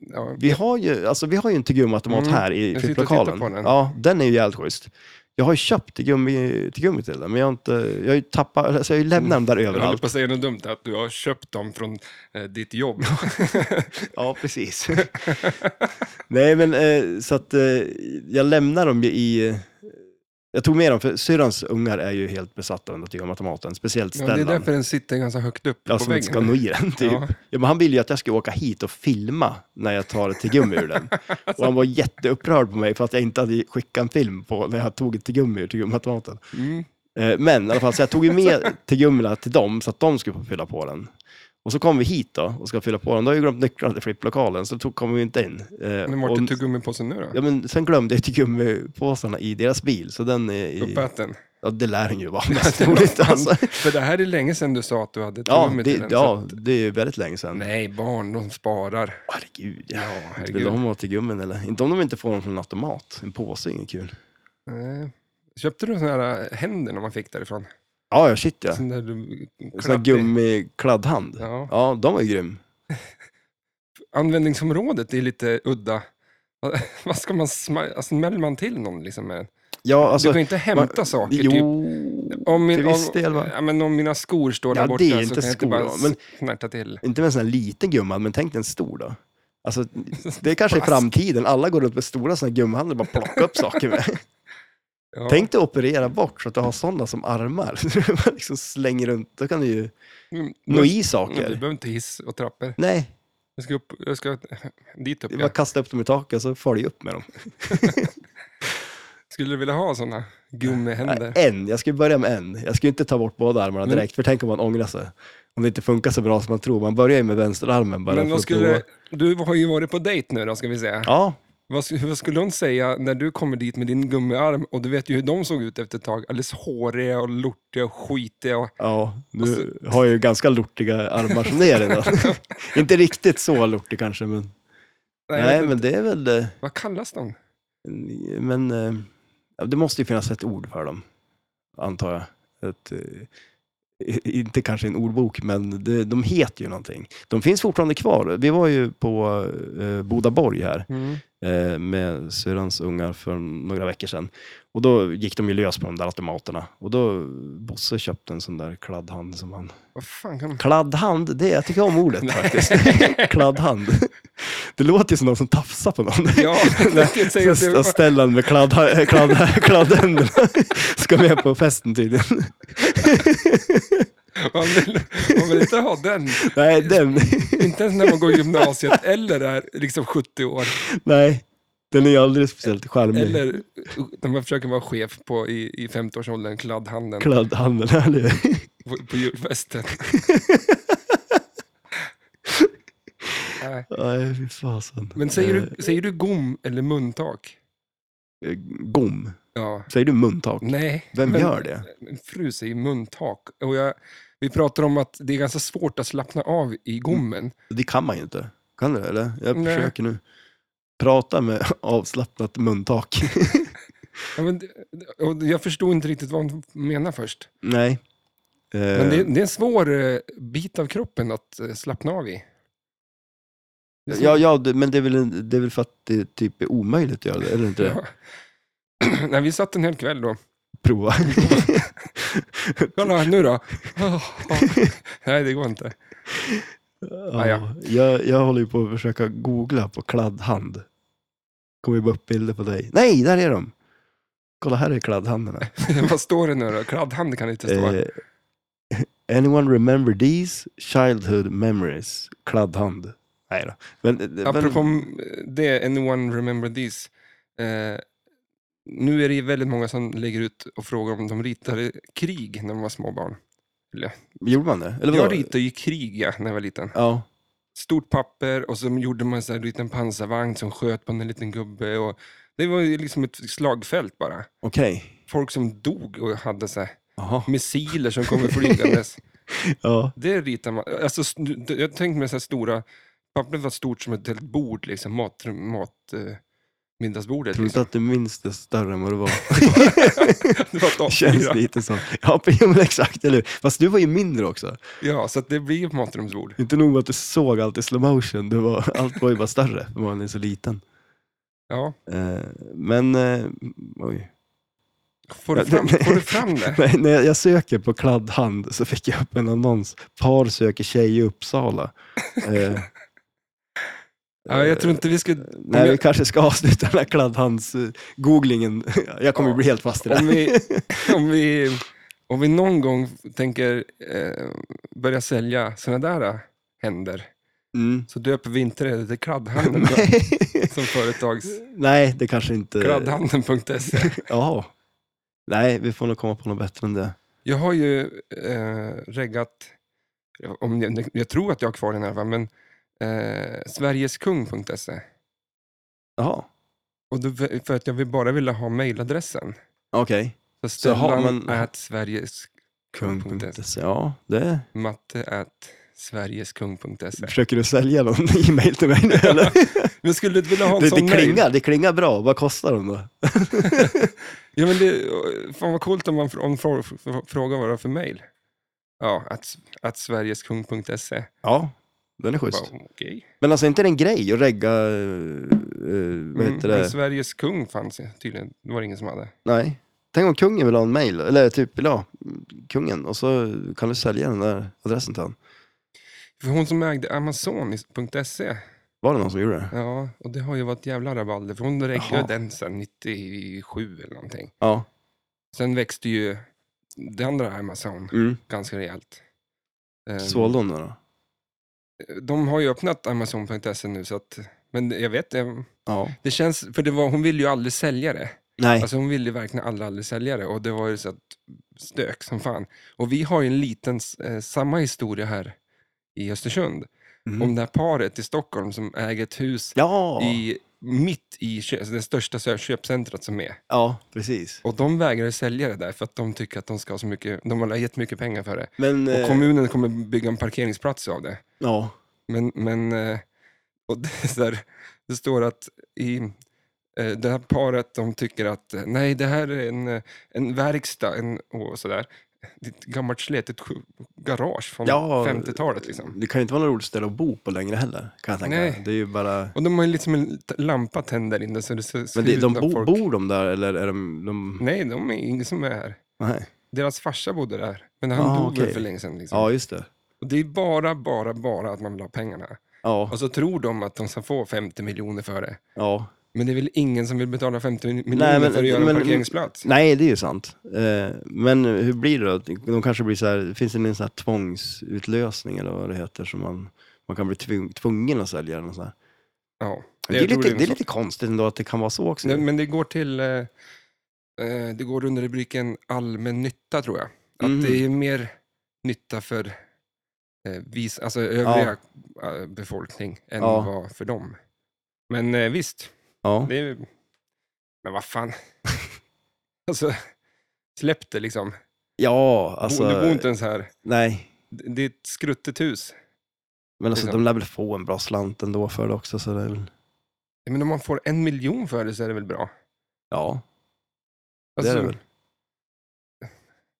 ja. Vi har ju, alltså, vi har ju en tuggummiautomat Mm, här i jag sitter och flipplokalen. tittar på den. Ja, den är ju jävligt schysst. Jag har ju köpt tuggummi, tuggummi till den, men jag har, inte, jag har ju tappat, alltså jag har ju lämnat dem där Jag håller överallt. på att säga något dumt, att du har köpt dem från eh, ditt jobb. Mm. Ja, precis. Nej, men eh, så att eh, jag lämnar dem ju i... Jag tog med dem, för syrrans ungar är ju helt besatta av tuggummiautomaten, speciellt Ja, det är Stellan. därför den sitter ganska högt upp Ja, på som Alltså, inte ska väggen. nå i den, typ. Ja. Ja. men han ville ju att jag skulle åka hit och filma när jag tar ett tuggummi ur den. Och han var jätteupprörd på mig för att jag inte hade skickat en film på när jag tog ett tuggummi ur tuggummiautomaten. Mm. Eh, Men i alla fall, så jag tog ju med tuggummina till dem så att de skulle få fylla på den. Och så kom vi hit då och ska fylla på den. Då har jag glömt nycklarna till flipplokalen, så då kom vi inte in. Eh, Men och- vart är tuggummipåsen nu då? Ja, men sen glömde jag tuggummipåsarna i deras bil, så den är i... Uppäten? Ja, det lär den ju vara mest troligt alltså. För det här är länge sedan du sa att du hade Ja, tuggummi till det, den. ja, så- det är ju väldigt länge sedan. Nej, barn, de sparar. Herregud, ja. Ja, Inte Vill herregud. de ha till gummin eller? Inte om de inte får dem från en automat. En påse är inget kul. Nej. Eh, Köpte du sådana här eh, händer när man fick därifrån? Ja, ja, shit ja. Sån där du... Sån här klapp i. gummikladdhand. Ja. Ja. de var ju grym. Användningsområdet är lite udda. Vad ska man sma- alltså, smäller man till någon liksom med? Ja, alltså... du kan inte hämta man- saker. Jo, Typ, om, min, till om, viss del va? ja, men om mina skor står där Ja, borta det är så inte kan jag inte skor, bara va? Men- snärta till. Inte med en sån här liten gumman, men tänk dig en stor då. Alltså, det är kanske i framtiden. Alla går runt med stora såna här gummihänder och bara plockar upp saker med. Ja. Tänk dig operera bort så att du har sådana som armar. Så man liksom slänger runt. Då kan du ju Mm, nå i men Du saker. behöver inte hiss och trappor. Nej, Jag ska, upp, jag ska dit upp. det är bara Ja. att kasta upp dem i taket och så följ upp med dem. Skulle du vilja ha sådana Nej, gummihänder? en, jag skulle börja med en. Jag skulle inte ta bort båda armarna Men- direkt, för tänk om man ångrar sig. Om det inte funkar så bra som man tror. Man börjar ju med vänsterarmen bara. Men för vad att skulle, prova. du har ju varit på dejt nu då, ska vi säga. Ja, Vad, sk- vad skulle hon säga när du kommer dit med din gummiarm och du vet ju hur de såg ut efter ett tag. Alldeles håriga och lortiga och skitiga. Och, ja, nu Alltså- har jag ju ganska lortiga armar som det är redan. inte riktigt så lortig kanske, men nej, nej, jag vet inte. men det är väl... eh, Vad kallas de? Men eh, ja, det måste ju finnas ett ord för dem, antar jag. Ett, eh, i- inte kanske en ordbok, men det, de heter ju någonting. De finns fortfarande kvar. Vi var ju på eh, Bodaborg här. eh, med syrrans ungar för några veckor sedan. Och då gick de ju lös på de där automaterna. Och då Bosse köpte en sån där kladdhand som han... Vad fan kan de... Kladdhand, det, jag tycker om ordet faktiskt. kladdhand. Det låter ju som någon som tafsar på någon. Ja, jag tänkte säga att Så det. Stellan med kladd, kladd, kladdhänderna ska med på festen tydligen. Man vill, man vill inte ha den. Nej, den, Inte ens när man går gymnasiet eller är liksom 70 år. nej, den är ju aldrig speciellt charmig. Eller när man försöker vara chef på, i, i 50-årsåldern, kladdhanden Kladdhanden, eller hur? på, på julfesten. Nej. Nej, fy fasen. Men säger du, säger du gom eller muntak? Eh, Gom. Ja. Säger du muntak? Nej. Vem men- gör det? Min fru säger muntak. Och jag, vi pratar om att det är ganska svårt att slappna av i gommen. Det kan man ju inte. Kan du det, eller? Jag Nej. försöker nu. Prata med avslappnat muntak. Ja, men, det- och jag förstod inte riktigt vad hon menar först. Nej. Eh, Men det, det är en svår eh, bit av kroppen att eh, slappna av i. Det är så- Eh, ja, ja, det- men det är, väl, en- det är väl för att det typ är omöjligt att göra det, eller inte? det? Ja. Nej, vi satt en hel kväll då. Prova. Kolla, nu då. Nej, det går inte. Ja, ja. ja. jag, jag håller ju på att försöka googla på kladdhand. Kommer ju bara upp bilder på dig. Nej, där är de! Kolla, här är kladdhandarna. Vad står det nu då? Kladdhand kan det inte stå. Eh, anyone remember these childhood memories? Kladdhand. Nej då. Men, eh, Apropå men, det, anyone remember these? Eh, nu är det ju väldigt många som lägger ut och frågar om de ritade krig när de var små barn. gjorde man det? Eller Jag vadå? ritade ju krig ja, när jag var liten. Ja. Stort papper och så gjorde man så här en liten pansarvagn som sköt på en liten gubbe. Och det var ju liksom ett slagfält bara. Okej. folk som dog och hade så här, Jaha. missiler som kommer flygandes. Ja. det ritar man. Alltså, s- nu- jag tänkte mig så här stora, pappret var stort som ett helt bord, liksom, mat, mat, eh, middagsbordet. Tror inte Liksom. att du minns det större än vad det var. Det var ett A4. Känns lite så. Ja, men exakt, eller hur? Fast du var ju mindre också. Ja, så att det blir ett matrumsbord. Inte nog med att du såg allt i slow motion, det var, allt var ju bara större, för man är så liten. Ja. Eh, men, eh, oj. Får du Ja, fram, nej. får du fram det? Nej, när jag söker på kladdhand så fick jag upp en annons. Par söker tjej i Uppsala. Eh, Ja, jag tror inte vi ska... Nej, jag- vi kanske ska avsluta den här kladdhands-googlingen. Jag kommer Ja. bli helt fast i det Om här. vi, om, vi, om vi någon gång tänker eh, börja sälja sådana där eh, händer, Mm. så döper vi inte det till kladdhandeln då, som företags... Nej, det kanske inte... Kladdhandeln.se. Ja. Nej, vi får nog komma på något bättre än det. Jag har ju eh, reggat, om jag, jag tror att jag har kvar den här, va, men eh, Sverigeskung.se. Jaha, E. Och då, för att jag vill- bara ville ha mejladressen. okej. Så Så har Stellan man- at Sveriges... Kung.se, ja. Det... E. Matte at Sverigeskung.se. Försöker du sälja någon e-mail till mig nu eller? Men skulle du inte vilja ha en det, sån det, mejl? klingar, det klingar bra, vad kostar de då? Ja, men det, fan vad coolt om man fr- om frå- fr- frågar vad det var för mejl. Ja, att, att Sverigeskung.se. Ja, den är schysst. Bara, Okej. Men alltså inte det en grej att regga, eh, eh, vad Mm, heter men det? Sveriges kung fanns ju tydligen. Det var det ingen som hade. Nej. Tänk om kungen vill ha en mail, eller typ, ja, kungen, och så kan du sälja den där adressen till honom. För hon som ägde Amazon.se, Var det någon som gjorde det? ja, och det har ju varit jävla rabalder. För hon Jaha. reggade den sen 97 eller någonting. Ja. Sen växte ju det andra Amazon Mm. ganska rejält. Ehm, Sålde hon det då? De har ju öppnat Amazon.se nu, så att, men jag vet, jag- Ja. det känns, för det var, hon ville ju aldrig sälja det. Nej. Alltså hon ville ju verkligen aldrig, aldrig sälja det och det var ju så att stök som fan. Och vi har ju en liten, eh, samma historia här i Östersund. Mhm. Om det här paret i Stockholm som äger ett hus Ja. i, mitt i kö- alltså det största sö- köpcentret som är. ja, precis. Och de vägrar sälja det där för att de tycker att de ska ha så mycket, de har gett mycket pengar för det. Men, eh, Och kommunen kommer bygga en parkeringsplats av det. ja. Men, men eh, och det, är så här, det står att i eh, det här paret, de tycker att eh, nej, det här är en, eh, en verkstad en, och sådär. Ett gammalt slitet sju- garage från ja. 50-talet. Liksom. Det kan ju inte vara något roligt ställe att bo på längre heller, kan jag tänka. Nej. Det är ju bara... Och de har ju liksom en t- lampa tänd där inne. Så det ser Men det, de skruvat bo, folk. bor de där eller är de... de... Nej, de är ingen som är här. Nej. Deras farsa bodde där, men han Ah, dog väl okej. för länge sedan. Liksom. Ja, just det. Och det är bara, bara, bara att man vill ha pengarna. Ja, Och så tror de att de ska få 50 miljoner för det. ja. Men det är väl ingen som vill betala 50 miljoner Nej, men- för att göra men- en parkeringsplats? Nej, det är ju sant. Eh, Men hur blir det då? De kanske blir så här, finns det en sån här tvångsutlösning eller vad det heter som man, man kan bli tvung, tvungen att sälja den och så här. Ja, Det jag är, tror lite, det är så. lite konstigt ändå att det kan vara så också. Nej, Men det går till... eh, eh, Det går under rubriken allmän nytta, tror jag. Att Mhm. det är mer nytta för eh, vis, alltså övriga eh, befolkning än Ja. vad för dem. Men eh, visst, ja. det är, men vad fan. alltså, släpp det liksom. ja, du bor alltså. inte ens här. Nej, Det det är ett skruttet hus. men alltså, Liksom. de lär väl få en bra slant ändå för det också. Så det är väl, Men om man får en miljon för det så är det väl bra? ja, det Alltså, är det väl.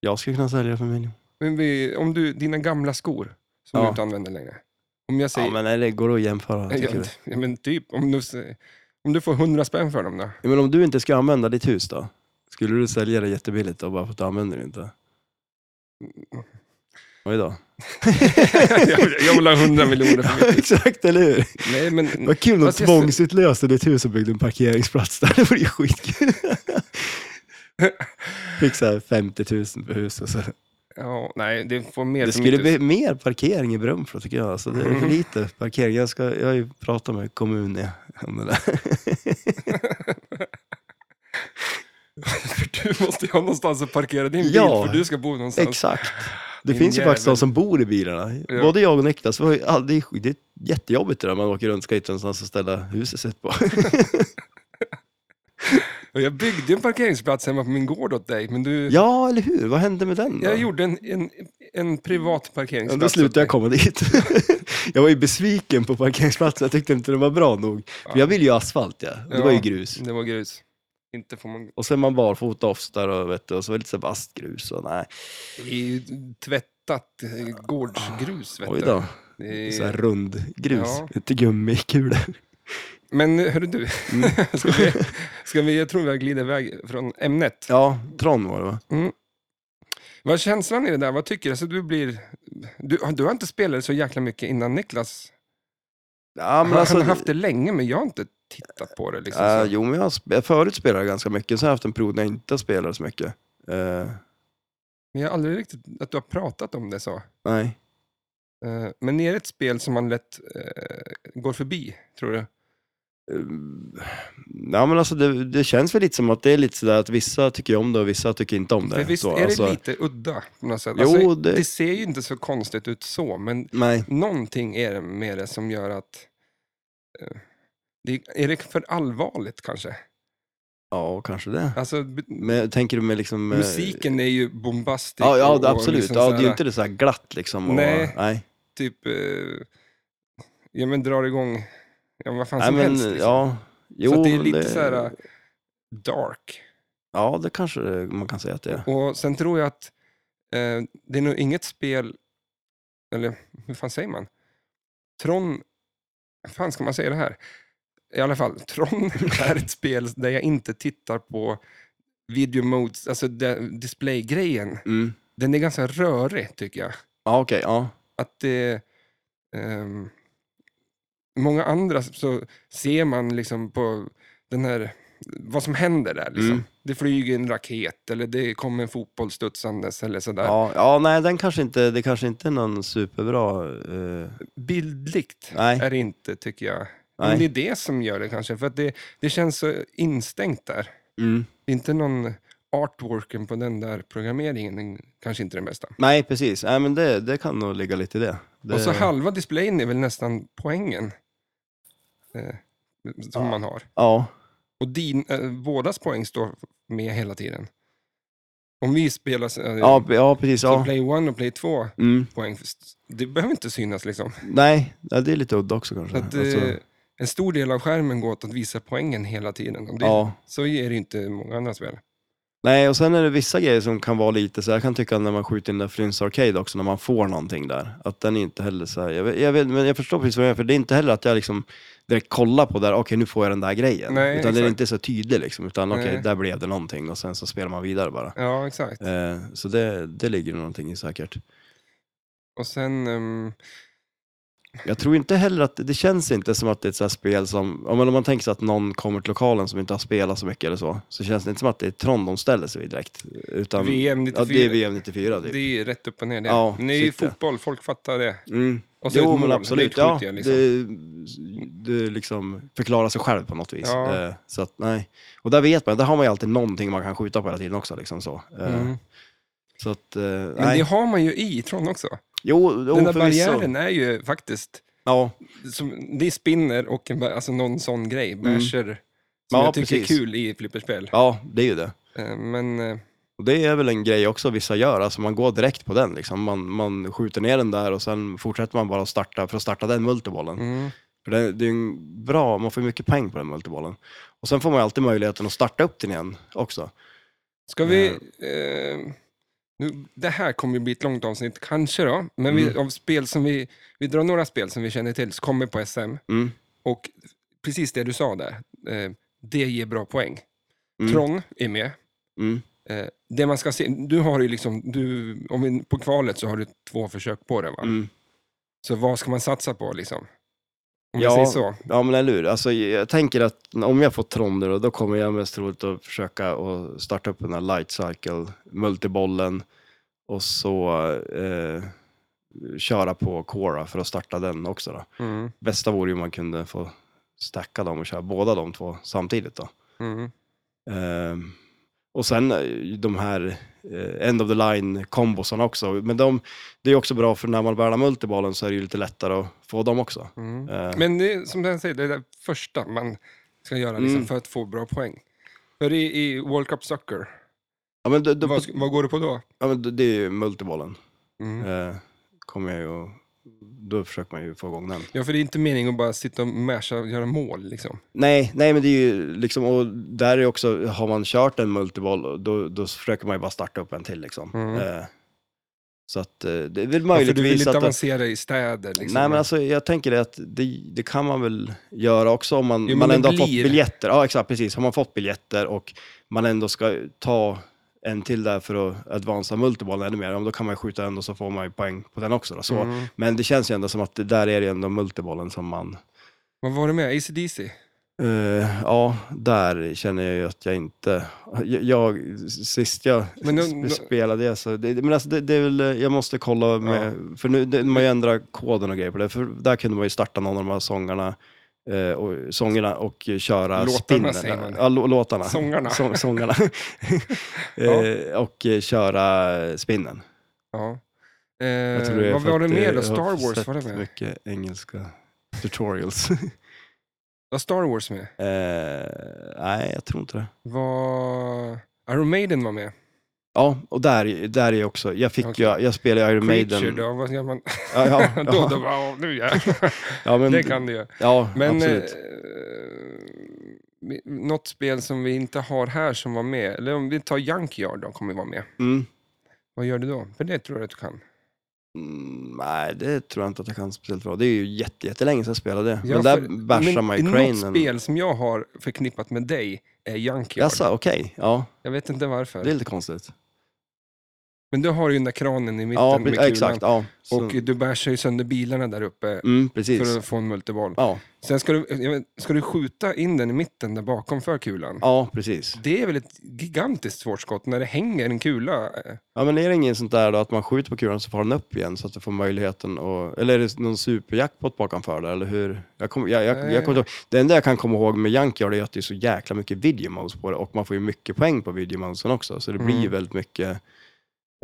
Jag skulle kunna sälja det för en miljon. Men vi, om du, dina gamla skor som du Ja. inte använder längre. Om jag säger, Ja, men nej, det går att jämföra. ja, tycker men, du. typ, om du, sä- om du får 100 spänn för dem då? Ja, Men om du inte ska använda ditt hus då? Skulle du sälja det jättebilligt då, bara för att du använder det inte? Mm. Oj då. jag, jag vill ha 100 miljoner för Ja, mycket. exakt, eller hur? Nej, men, Vad kul om Fast jag- tvångsutlöste ditt hus och byggde en parkeringsplats där. Det vore ju skitkul. Fick så här 50 000 för huset. Så. ja, nej, det får mer Det för skulle mitt bli hus. mer parkering i Brunflo tycker jag. Alltså, det är för lite parkering. Jag, ska, jag har ju pratat med kommunen om det där. För du måste ju ha någonstans att parkera din Ja. bil för du ska bo någonstans. Exakt. Det Din finns ju faktiskt jävel. de som bor i bilarna. Ja. Både jag och Niklas, vi har ju aldrig, det är jättejobbigt det där man åker runt, ska hitta någonstans att ställa huset sitt på. Och jag byggde en parkeringsplats hemma på min gård åt dig, men du... Ja, eller hur? Vad hände med den? Jag då? gjorde en, en, en privat Ja, parkeringsplats. då slutade jag åt dig. komma dit. jag var ju besviken på parkeringsplatsen, jag tyckte inte den var bra nog. För jag ville ju asfalt, ja. Och det Ja. var ju grus. Det var grus. Inte får man... Och sen man barfota ofta och, vet du, och så var det lite så här bastgrus och nej. Det är ju tvättat eh, gårdsgrus, vet Oj du. då. Det Så här är... rundgrus, Ja. inte gummikulor. Men hörru du, Mm. ska vi, ska vi, jag tror vi har glidit iväg från ämnet. Ja, Tron var det va? Vad är känslan i det där? Vad tycker du? Alltså, du, blir... du, du har inte spelat så jäkla mycket innan Niklas. Ja, Han- han har haft det länge, men jag har inte tittat på det. Liksom, Äh, så. jo, men jag har sp- förut spelade jag ganska mycket, sen har jag haft en period när jag inte spelade så mycket. Eh, Men jag har aldrig riktigt att du har pratat om det så. nej. Eh, men är det ett spel som man lätt eh, går förbi, tror du? Eh, Ja, men alltså det, det känns väl lite som att det är lite sådär att vissa tycker om det och vissa tycker inte om det. För visst så, är det alltså, lite udda på något sätt? Jo, alltså, det- det ser ju inte så konstigt ut så, men Nej, någonting är det med det som gör att... eh, det, är det för allvarligt kanske? ja kanske det. Alltså, b- Men tänker du med liksom... eh, musiken är ju bombastisk. Ja, ja och- och absolut. liksom ja, så det är här- ju inte det så här glatt liksom. Och, Nej. nej. Nej, typ, eh, ja men drar igång, ja vad fan som men helst. Liksom. ja. Jo, så att det är lite så här eh, dark. Ja, det kanske det- man kan säga att det är. Och sen tror jag att eh, det är nog inget spel, eller hur fan säger man? Tron, hur fan ska man säga det här? I alla fall, Tron är ett spel där jag inte tittar på video modes, alltså de- displaygrejen. Mm. Den är ganska rörig tycker jag. Ja, okej. ja. att det... ehm, många andra så ser man liksom på den här, vad som händer där. Liksom. Mm. Det flyger en raket eller det kommer en fotboll studsandes eller sådär. Ja, ja, nej, den kanske inte, det kanske inte är någon superbra... eh, Bildligt Nej. är det inte tycker jag. Men Nej. det är det som gör det kanske, för att det, det känns så instängt där. mm. Det är inte någon artworken på den där programmeringen, den kanske inte är den bästa. Nej, precis. Nej, men det, det kan nog ligga lite i det. det Och så halva displayen är väl nästan poängen. Eh, som Ja. man har. Ja, Och din, eh, bådas poäng står med hela tiden. Om vi spelar eh, ja, ja precis. så Ja. play one och play två Mm. poäng, det behöver inte synas liksom. Nej, ja, det är lite udda också kanske. Så att, eh, Alltså, en stor del av skärmen går åt att visa poängen hela tiden. Och det, ja. Så är det ju inte i många andra spel. Nej, och sen är det vissa grejer som kan vara lite så här, jag kan tycka när man skjuter in där Flynns Arcade också, när man får någonting där, att den är inte heller så här, jag, vet, jag, vet, men jag förstår precis vad du menar, för det är inte heller att jag liksom direkt kollar på där, okej nu får jag den där grejen. Nej, utan det exakt. är inte så tydligt liksom, utan okej, Nej. där blev det någonting och sen så spelar man vidare bara. Ja, exakt. Eh, så det, det ligger någonting i säkert. Och sen, ehm, Jag tror inte heller att, det känns inte som att det är ett så här spel som, om man, om man tänker sig att någon kommer till lokalen som inte har spelat så mycket eller så, så känns det inte som att det är Trond de ställer sig vid direkt. Utan, VM 94. Ja, det är VM 94 typ. det är rätt upp och ner det. Ja, Men det är ju shit, ja. fotboll, folk fattar det. Mm. Och så ett mål, det skjuter jag liksom. det, det liksom förklarar sig själv på något vis. Ja. Eh, Så att, nej. Och där vet man, där har man ju alltid någonting man kan skjuta på hela tiden också. Liksom så. Eh, Mm. så att, eh, Men nej. det har man ju i Tron också. Jo, Den där oh, förvisso. barriären är ju faktiskt Ja, som, det är spinner och en, ba- alltså någon sån grej, basher, som Mm. Ja, jag tycker precis. är kul i flipperspel. ja, det är ju det. Eh, Men eh, Och det är väl en grej också vissa gör, alltså man går direkt på den liksom. Man, man skjuter ner den där och sen fortsätter man bara att starta, för att starta den multibollen. mm, För det, det är ju en bra, man får ju mycket poäng på den multibollen. Och sen får man ju alltid möjligheten att starta upp den igen också. ska vi... Eh, nu, det här kommer ju bli ett långt avsnitt, kanske då, men vi, Mm. av spel som vi, vi drar några spel som vi känner till som kommer på SM. Mm. Och precis det du sa där, eh, det ger bra poäng. Mm. Tron är med. Mm. Eh, det man ska se, du har ju liksom, du, om vi, på kvalet så har du två försök på det va? Mm. Så vad ska man satsa på liksom? Om Ja. vi säger så. Ja men eller hur, alltså, jag tänker att om jag får Tron nu då, då kommer jag mest troligt att försöka att starta upp den här light cycle, multibollen och så eh, köra på Cora för att starta den också då. Mm, Bästa vore ju om man kunde få stacka dem och köra båda de två samtidigt då. mm, Ehm, och sen eh, de här eh, end of the line kombosarna också, men de, det är också bra för när man bär multibollen så är det ju lite lättare att få dem också. mm. Eh, Men det, är som jag säger, det är det första man ska göra liksom, Mm. för att få bra poäng. Hur är det i World Cup Soccer? Ja, men, det, det, Vad, vad går du på då? ja, men det, det är ju multibollen. Mm. Eh, kommer jag ju och, då försöker man ju få igång den. Ja, för det är inte meningen att bara sitta och masha och göra mål liksom. Nej, nej men det är ju liksom, och där är också, har man kört en multiboll, då, då försöker man ju bara starta upp en till liksom. Mm. Eh, så att eh, det är väl Ja, för du vill möjligtvis inte att... avancera i städer liksom. Nej men alltså jag tänker det att det, det kan man väl göra också om man, Jo, men man det ändå har fått blir- biljetter. Ja exakt, precis. Har man fått biljetter och man ändå ska ta en till där för att advansa multibollen ännu mer, ja, men då kan man ju skjuta den och så får man ju poäng på den också. Då, så. Mm. Men det känns ju ändå som att det där är det ändå multibollen som man... Vad var det med? ACDC? Eh, ja, där känner jag ju att jag inte... Jag, jag, sist jag Men nu- sp- spelade det så... Det, men alltså det, det är väl, jag måste kolla med... För nu, det, man ju ändra koden och grejer på det. För där kunde man ju starta någon av de här sångarna, eh, och, sångerna och köra Låtarna, spinnen. säger man. Ja, lå- låtarna. Sångarna. Så, sångarna. Ja. eh, och eh, köra spinnen. Ja. Jag Eh, tror det är vad för var det att, med eh, då? jag har Star Wars var det sett med? mycket engelska tutorials. Var Star Wars med? eh, nej, jag tror inte det. Var... Iron Maiden var med. Ja, och där, där är jag också. Jag, fick Okej. jag, jag spelade Iron Maiden. Creature då, vad gör man? Ja, ja, ja, då, då bara, "Åh, nu jävlar. ja, men, det kan du ju. Ja, Men eh, absolut. vi- något spel som vi inte har här som var med, eller om vi tar Junkyard då, kommer vara med. Mm. Vad gör du då? För det tror jag att du kan. Mm, nej, det tror jag inte att jag kan speciellt bra. Det är ju jätte, jättelänge sedan jag spelade det. Ja, men där för- bashar men man ju Något cranen. spel som jag har förknippat med dig är Junkyard. Jaså, okej. Ja, Jag vet inte varför. det är lite konstigt. Men du har ju den där kranen i mitten Ja, med pre- kulan. ja, exakt. Ja. Så, Och du bärsar ju sönder bilarna där uppe mm, precis. för att få en multiboll. Ja, Sen ska du, jag vet- ska du skjuta in den i mitten där bakom för kulan. ja, precis. Det är väl ett gigantiskt svårt skott när det hänger en kula. eh, Ja, men är det ingen sånt där då att man skjuter på kulan så får den upp igen så att du får möjligheten att... Eller är det någon superjackpot bakomför där, eller hur? Jag kommer, jag, jag, Nej. jag kommer inte ihåg. Det enda jag kan komma ihåg med Junkyard är att det är så jäkla mycket videomos på det och man får ju mycket poäng på videomosen också, så det blir ju Mm. väldigt mycket... eh,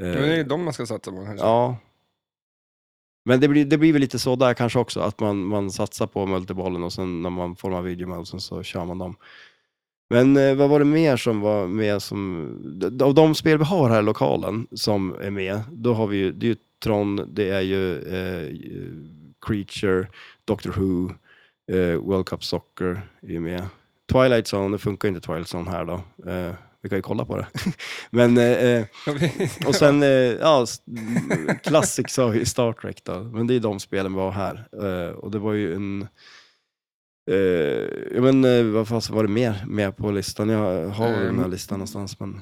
Men det är de man ska satsa på kanske. ja. Men det blir, det blir väl lite så där kanske också, att man, man satsar på multibollen och sen när man får de här videomosen så kör man dem. Men eh, vad var det mer som var med som, d- av de spel vi har här i lokalen som är med, då har vi ju, det är ju Tron, det är ju eh, Creature, Doctor Who, eh, World Cup Soccer är ju med. Twilight Zone, det funkar ju inte Twilight Zone här då. Eh, vi kan ju kolla på det. Men eh, eh, och sen, eh, ja, s- m- Classic sa vi i Star Trek då, men det är de spelen vi har här. Eh, och det var ju en... Eh, ja, men eh, vad fan var det mer med på listan? Jag har väl den här Ehm. listan någonstans, men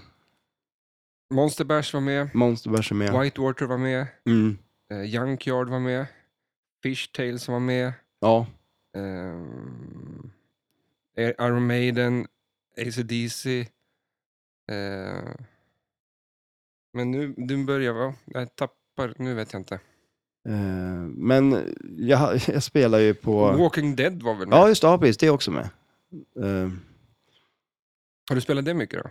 Monster Bash var med, Monster Bash är med. Whitewater var med, Mm. eh, Junkyard var med, Fish Tales var med, Ja, ehm, Air- Iron Maiden, ACDC. Eh, men nu, nu börjar va? Jag tappar, nu vet jag inte. eh, men jag, jag spelar ju på... Walking Dead var väl med? Ja, just det, ja, precis, det är också med. Eh, Har du spelat det mycket då?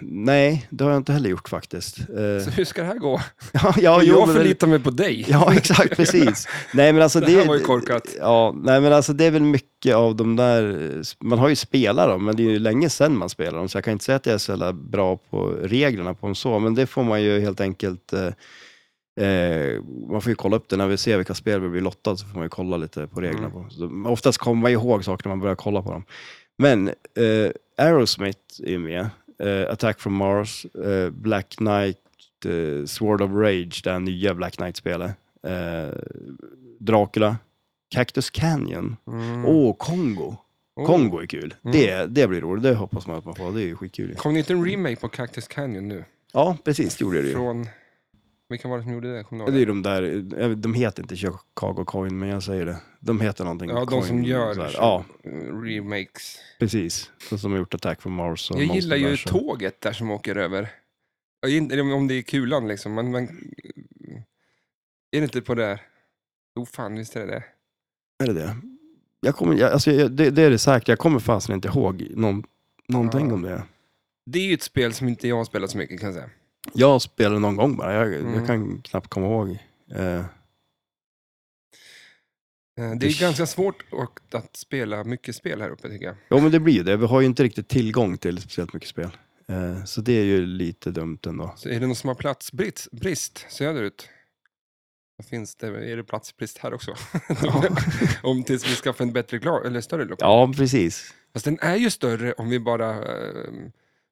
nej, det har jag inte heller gjort faktiskt. Så Eh, hur ska det här gå? ja, ja, jo, jag men- förlitar mig på dig. Ja, exakt, precis. Nej, men alltså Det det, här var ju korkat. Ja, nej, men alltså det är väl mycket av de där, man har ju spelat dem, men det är ju länge sedan man spelar dem, så jag kan inte säga att jag är så jävla bra på reglerna på dem så, men det får man ju helt enkelt, eh, eh, man får ju kolla upp det när vi ser vilka spel vi blir lottade, så får man ju kolla lite på reglerna. Mm. På. dem. Så, oftast kommer man ihåg saker när man börjar kolla på dem. Men eh, Aerosmith är ju med, eh, Attack from Mars, eh, Black Knight, eh, Sword of Rage, det här nya Black Knight-spelet, eh, Dracula, Cactus Canyon, Mm. åh, Kongo. Oh. Kongo är kul. Mm. Det, det blir roligt, det hoppas man att man får. Det är ju skitkul. ju. Kom det inte en remake på Cactus Canyon nu? Ja, precis, det gjorde det ju. Från... Vilka var det som gjorde det? Kommer du Det är ihåg? de där, eh, de heter inte Chicago Coin, men jag säger det. De heter någonting. Ja, de Coin, som gör så här. Chicago- Ja, Eh, Remakes. precis. Så som har gjort Attack from Mars och Jag gillar ju Monsterverse och- tåget där som åker över. Jag vet inte Om det är kulan liksom, men... men är det inte på det här? Jo, fan, visst är det det. Är det det? Jag kommer, jag, alltså, jag, det, det är det säkert. Jag kommer fasen inte ihåg någon, någonting Ja. om det. Det är ju ett spel som inte jag har spelat så mycket kan jag säga. Jag spelade någon gång bara. Jag, Mm. jag kan knappt komma ihåg. Eh, Eh, Det är ganska svårt att, att spela mycket spel här uppe tycker jag. Ja, men det blir ju det. Vi har ju inte riktigt tillgång till speciellt mycket spel. Eh, Så det är ju lite dumt ändå. Så är det någon som har platsbrist brist söderut? Då Finns det, är det platsbrist här också? om tills vi skaffar en bättre gla- eller större lokal. Ja, precis. Fast den är ju större om vi bara eh,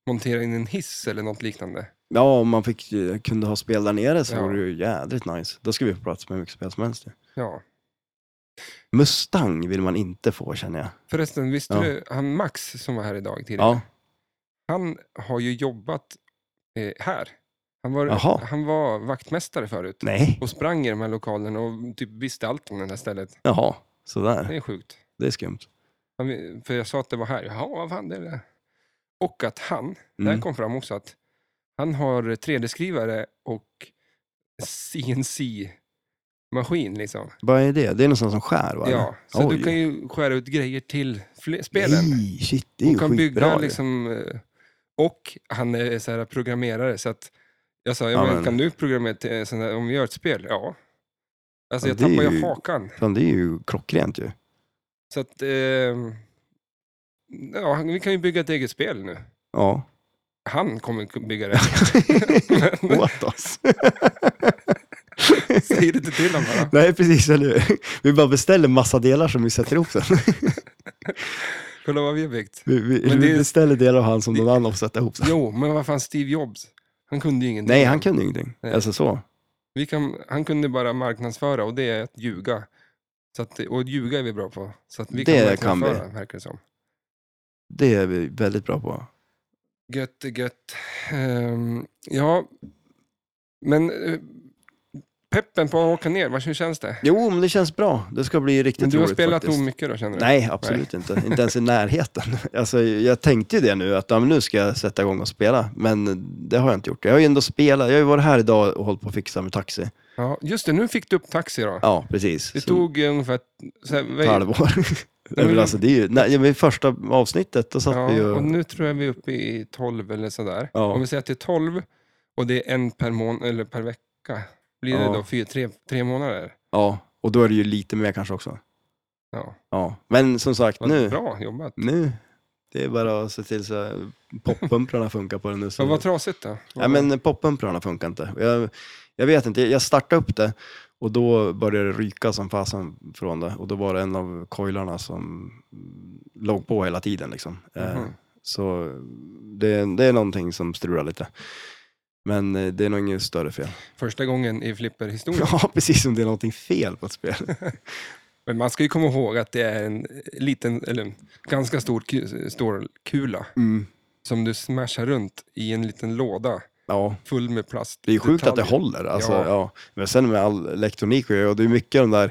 monterar in en hiss eller något liknande. Ja, om man fick, eh, kunde ha spel där nere så Ja. vore det ju jädrigt nice. Då skulle vi få plats med hur mycket spel som helst. ju. Ja. Mustang vill man inte få känner jag. Förresten, visste Ja. du han Max som var här idag tidigare? Ja, Han har ju jobbat eh, här. Han var, Jaha. han var vaktmästare förut nej, och sprang i de här lokalerna och typ visste allt om det här stället. jaha, sådär. Det är sjukt. Det är skumt. Han, för jag sa att det var här. Jaha, vad fan det är det. Och att han, Mm. där kom fram också att han har 3D-skrivare och CNC-maskin liksom. Vad är det? Det är någon sån som skär va? Ja, så Oj. du kan ju skära ut grejer till fler, spelen. Nej, shit, det är Du ju kan skitbra. bygga ju. liksom, eh, och han är så här programmerare så att jag sa, Ja, ja, men, men- kan du programmera till en sån här, om vi gör ett spel? Ja. Alltså Ja, jag det är tappar ju ju- hakan. Fan, det är ju klockrent ju. Så att, ehm, ja, han- vi kan ju bygga ett eget spel nu. Ja. Han kommer att bygga det. Åt oss. Säg det inte till honom bara. Nej, precis, eller hur? Vi bara beställer massa delar som vi sätter ihop sen. Kolla vad vi har byggt. Vi, vi, Men det vi är- beställer delar av han som någon annan får sätta ihop sen. Jo, men vad fan Steve Jobs? Han kunde ju ingenting. Nej, han kunde ingenting. Nej. Alltså så. Vi kan, han kunde bara marknadsföra och det är att ljuga. Så att, och ljuga är vi bra på. Så att vi kan Det kan vi. marknadsföra, verkar det som. Det är vi väldigt bra på. Gött, gött. Ehm, ja, men eh, peppen på att åka ner, vad- hur känns det? Jo, men det känns bra. Det ska bli riktigt Men du har roligt spelat faktiskt. nog mycket då känner du? Nej, absolut inte. Inte ens i närheten. Alltså, jag tänkte ju det nu, att ja, men nu ska jag sätta igång och spela, men det har jag inte gjort. Jag har ju ändå spelat, jag har ju varit här idag och hållit på att fixa med taxi. Ja, just det, nu fick du upp taxi då. Ja, precis. det Så Mm, tog ungefär... Så här, ett halvår. Nej, men alltså, det är ju, nej, men i första avsnittet, då satt ja, vi ju... och nu tror jag vi är uppe i 12 eller sådär. Ja. Om vi säger att det är 12 och det är en per månad eller per vecka, blir det Ja. då fyra, tre, tre månader? Ja, och då är det ju lite mer kanske också. Ja, Ja, men som sagt, vad nu, bra jobbat. nu, det är bara att se till så att poppumprarna funkar på den nu. Men Så vad trasigt då? Nej, Mm. men poppumprarna funkar inte. Jag, jag vet inte, jag startade upp det och då började det ryka som fasen från det. Och då var det en av coilarna som låg på hela tiden. Liksom. Eh, Mhm. Så det, det är någonting som strular lite. Men eh, det är nog inget större fel. Första gången i flipperhistorien. Ja, precis som det är någonting fel på ett spel. Men man ska ju komma ihåg att det är en liten, eller en ganska stor, ku- stor kula Mm. som du smashar runt i en liten låda Ja, full med plast. det är sjukt att det detaljer. håller. Alltså, Ja. ja. Men sen med all elektronik och, och det är mycket av de där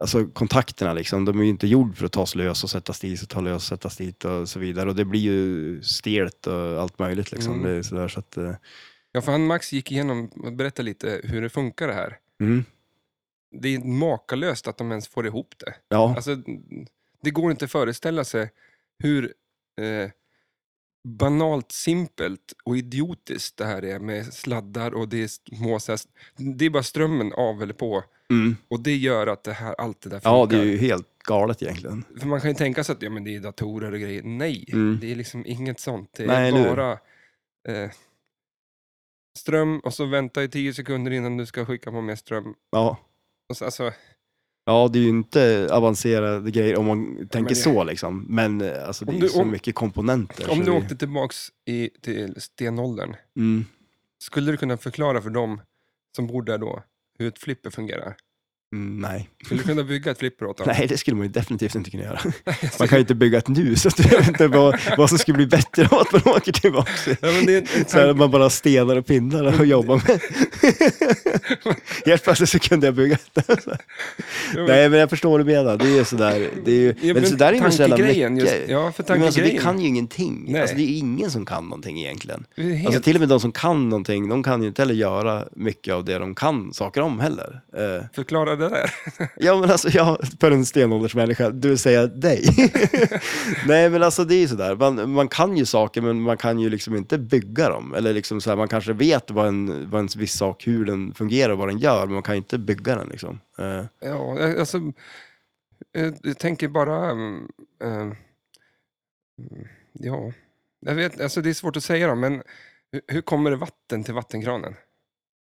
alltså, kontakterna, liksom, de är ju inte gjord för att tas lös och sättas dit och ta lös och sättas dit och så vidare. Och det blir ju stelt och allt möjligt. Liksom. Mm. Det är sådär, så att, eh, Ja, för han Max gick igenom och berättade lite hur det funkar det här. mm, Det är makalöst att de ens får ihop det. ja, Alltså, det går inte att föreställa sig hur eh, banalt simpelt och idiotiskt det här är med sladdar och det är små... så här- Det är bara strömmen av eller på mm. och det gör att det här, allt det där funkar. ja, det är ju helt galet egentligen. För man kan ju tänka sig att ja, men det är datorer och grejer. Nej, Mm. det är liksom inget sånt. Det är Nej, eller hur? bara eh, ström och så vänta i tio sekunder innan du ska skicka på mer ström. Ja. Och så, alltså, Ja, det är ju inte avancerade grejer om man tänker det- så liksom. Men eh, alltså, det Om är du- ju så om- mycket komponenter. om så du det- åkte tillbaks i, till stenåldern, Mm. skulle du kunna förklara för dem som bor där då hur ett flipper fungerar? Mm, nej. Skulle du kunna bygga ett flipper åt dem? nej, det skulle man ju definitivt inte kunna göra. Alltså, Man kan ju inte bygga ett nu, så att jag vet inte vad, vad som skulle bli bättre av att man åker tillbaka. ja, men det är en Så här, att tanke, man bara har stenar och pinnar och jobbar med. Helt plötsligt så kunde jag bygga detta. Nej, men jag förstår vad du menar. Det är ju sådär. Det är ju, ja, men sådär är man så jävla tankegrejen mycket. just, Ja, för men alltså, tankegrejen. vi kan ju ingenting. Nej. Alltså, det är ju ingen som kan någonting egentligen. Det är helt- Alltså, till och med de som kan någonting, de kan ju inte heller göra mycket av det de kan saker om heller. Eh, Förklara det där. Ja men alltså, jag, för en stenåldersmänniska, du vill säga dig. Nej men alltså det är ju sådär, man, man kan ju saker men man kan ju liksom inte bygga dem. Eller liksom så här, man kanske vet vad en, vad en viss sak, hur den fungerar och vad den gör, men man kan ju inte bygga den liksom. Eh, Ja, alltså, eh, jag tänker bara... mm, eh, mm, ja, jag vet, alltså det är svårt att säga då, men hur, hur kommer det vatten till vattenkranen?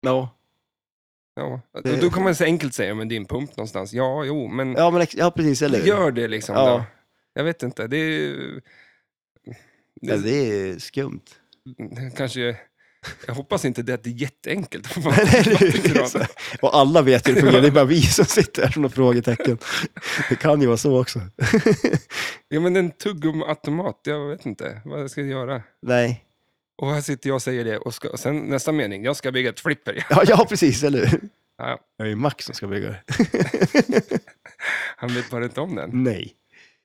Ja, Ja. Det- Då kan man så enkelt säga, men det är en pump någonstans. Ja, jo, men ja, men ex- ja precis. Eller hur? gör det liksom. Ja. Då. Jag vet inte, det är... Ja, det är skumt. mm, Kanske... Jag hoppas inte det att det är jätteenkelt. Eller hur? Och alla vet hur det fungerar, det är bara vi som sitter här som något frågetecken. Det kan ju vara så också. ja, men en tuggummiautomat, jag vet inte vad jag ska göra. Nej. Och här sitter jag och säger det, och, ska, och sen nästa mening, jag ska bygga ett flipper. Ja, ja precis, eller hur? Ja, Det är ju Max som ska bygga det. han vet bara inte om den. Nej.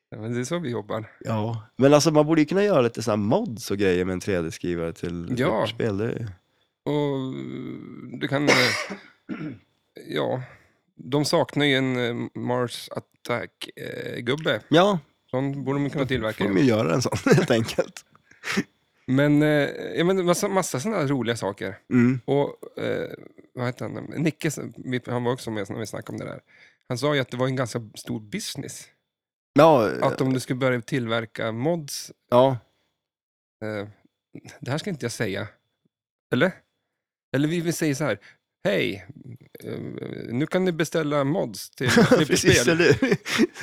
Ja, Men det är så vi jobbar. Ja, men alltså man borde ju kunna göra lite sådana mods och grejer med en 3D-skrivare till Ja. spel. Det är ju- Och du kan... eh, ja, de saknar ju en eh, Mars Attack-gubbe. Ja, Sån borde de kunna tillverka. får de ju göra en sån helt enkelt. Men, eh, ja, men massa, massa sådana roliga saker. Mm. Och eh, vad heter han? Nicke, vi- han var också med när vi snackade om det där. Han sa ju att det var en ganska stor business. Ja, Att om du skulle börja tillverka mods, ja, eh, det här ska inte jag säga. Eller? Eller vi vi säger så här, hej, eh, nu kan ni beställa mods till precis, flipperspel. eller hur?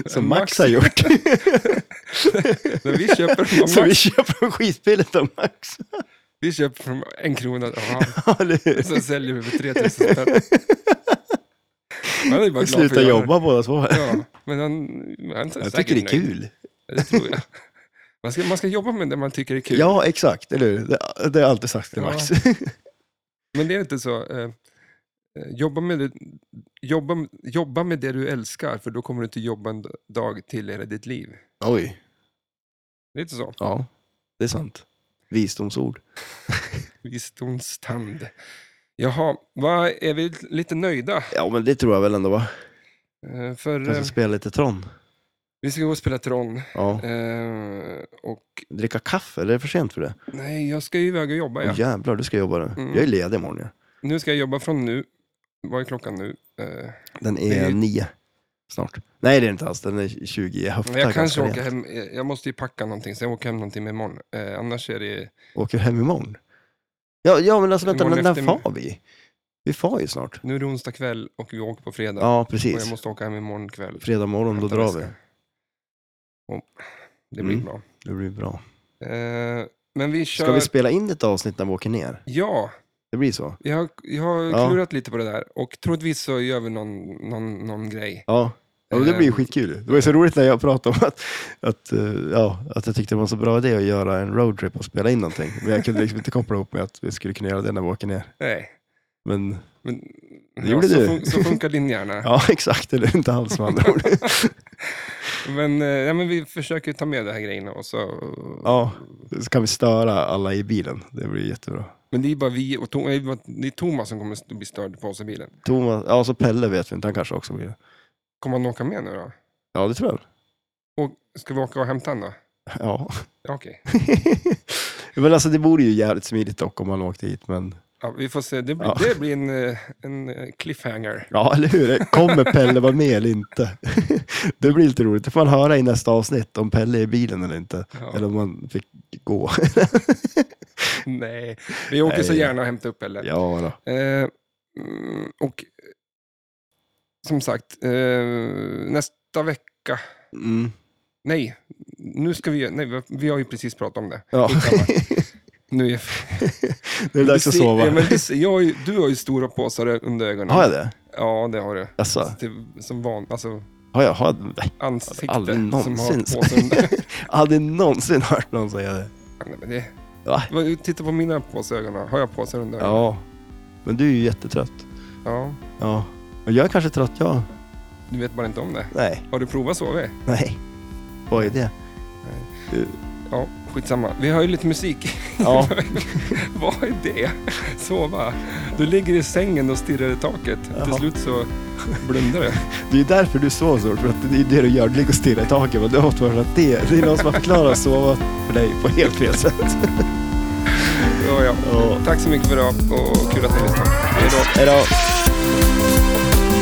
Som Typ Max- Max har gjort. Men vi köper Så från vi Max, köper skitbilligt av Max. vi köper från en krona, ja, Ja, eller hur? och sen säljer vi för 3000 spänn. Han är ju bara Vi glad för att slutar göra det. jobba båda två. Ja, men han, han Jag säkert tycker det är nöjd. kul. Det tror jag. Man ska, man ska jobba med det man tycker är kul. Ja, exakt. Eller hur? Det, det har jag alltid sagt till Ja. Max. Men det är inte så. Eh, eh, jobba, med det, jobba, jobba med det du älskar, för då kommer du inte jobba en dag till i hela ditt liv. Oj. Lite så. Ja, det är sant. Visdomsord. Visdomstand. Jaha, vad är vi lite nöjda? Ja, men det tror jag väl ändå, va? Eh, för Kanske eh, spela lite Tron. vi ska gå och spela Tron. Ja. Eh, och Dricka kaffe, eller är det för sent för det? nej, jag ska ju iväg och jobba. Ja. Åh, jävlar, du ska jobba nu. Mm. Jag är ledig imorgon. Ja. Nu ska jag jobba från nu. Vad är klockan nu? Eh, Den Det är är ju- nio snart. Nej, det är inte alls. Den är 20. Jag höftar Men jag kanske ganska åker rejält. hem, eh, jag måste ju packa någonting, så jag åker hem någonting med imorgon. Eh, annars är det, Åker hem imorgon. Ja, ja men alltså vänta, Imorgon när, när eftermiddag. far vi? Vi far ju snart. nu är det onsdag kväll och vi åker på fredag. Ja, Och jag precis. måste åka hem imorgon kväll. Fredag morgon, då Hämta drar väska. vi. Och, det blir Mm. bra. Det blir bra. Eh, men vi kör... Ska vi spela in ett avsnitt när vi åker ner? Ja, Det blir så. jag har, jag har Ja. klurat lite på det där. Och troligtvis så gör vi någon, någon, någon grej. Ja. ja men det blir ju Ehm. skitkul. Det var ju så roligt när jag pratade om att, att, eh, ja, att jag tyckte det var en så bra idé att göra en roadtrip och spela in någonting. Men jag kunde liksom inte koppla ihop med att vi skulle kunna göra det när vi åker ner. Nej, Men men... Det gjorde så, du. fun- så funkar din hjärna. ja, exakt. Eller inte alls med andra ord. Men, eh, ja, men vi försöker ta med de här grejerna och så... Ja, så kan vi störa alla i bilen. Det blir jättebra. Men det är bara vi och Tom, det är Thomas som kommer att bli störd på oss i bilen. Thomas, ja så Pelle vet vi inte, han kanske också blir det. Kommer han åka med nu då? Ja, det tror jag. Och ska vi åka och hämta honom då? Ja. Ja, Okej. men alltså det vore ju jävligt smidigt dock om man åkte hit, men Ja, vi får se. Det blir, Ja. det blir en, eh, en eh, cliffhanger. Ja, eller hur? Kommer Pelle vara med eller inte? Det blir lite roligt. Det får man höra i nästa avsnitt om Pelle är i bilen eller inte. Ja. Eller om man fick gå. Nej, vi åker så Nej. gärna och hämtar upp eller. Ja, då. Eh, mm, och som sagt, eh, nästa vecka. Mm. Nej, nu ska vi... Nej, vi- vi har ju precis pratat om det. Ja. Skitsamma. Nu är Det är dags att sova. Ja, men du ser- jag har ju, du har ju stora påsar under ögonen. Har jag det? Ja, det har du. Alltså, Till, som van, alltså har jag, har jag nej, ansikte Aldrig som någonsin. har påsar under. aldrig någonsin hört någon säga det? Nej, men det, Va? Vad- Titta på mina påsögon. då. Har jag påsar under? Ja. Men du är ju jättetrött. ja. Ja. Och jag är kanske trött, jag. Du vet bara inte om det. Nej, Har du provat sova? nej. Vad är det? Ja, skitsamma. Vi har ju lite musik. Ja, Vad är det? Sova. Du ligger i sängen och stirrar i taket. Till Jaha. slut så blundar du. det är ju därför du sover så hårt, för att det är det du gör. Du ligger och stirrar i taket. men Du har fått höra att det, det är någon som har förklarat att sova för dig på helt fel sätt. Ja, ja. Ja. Tack så mycket för idag och kul att ni lyssnade. Hej då. Hej då. Thank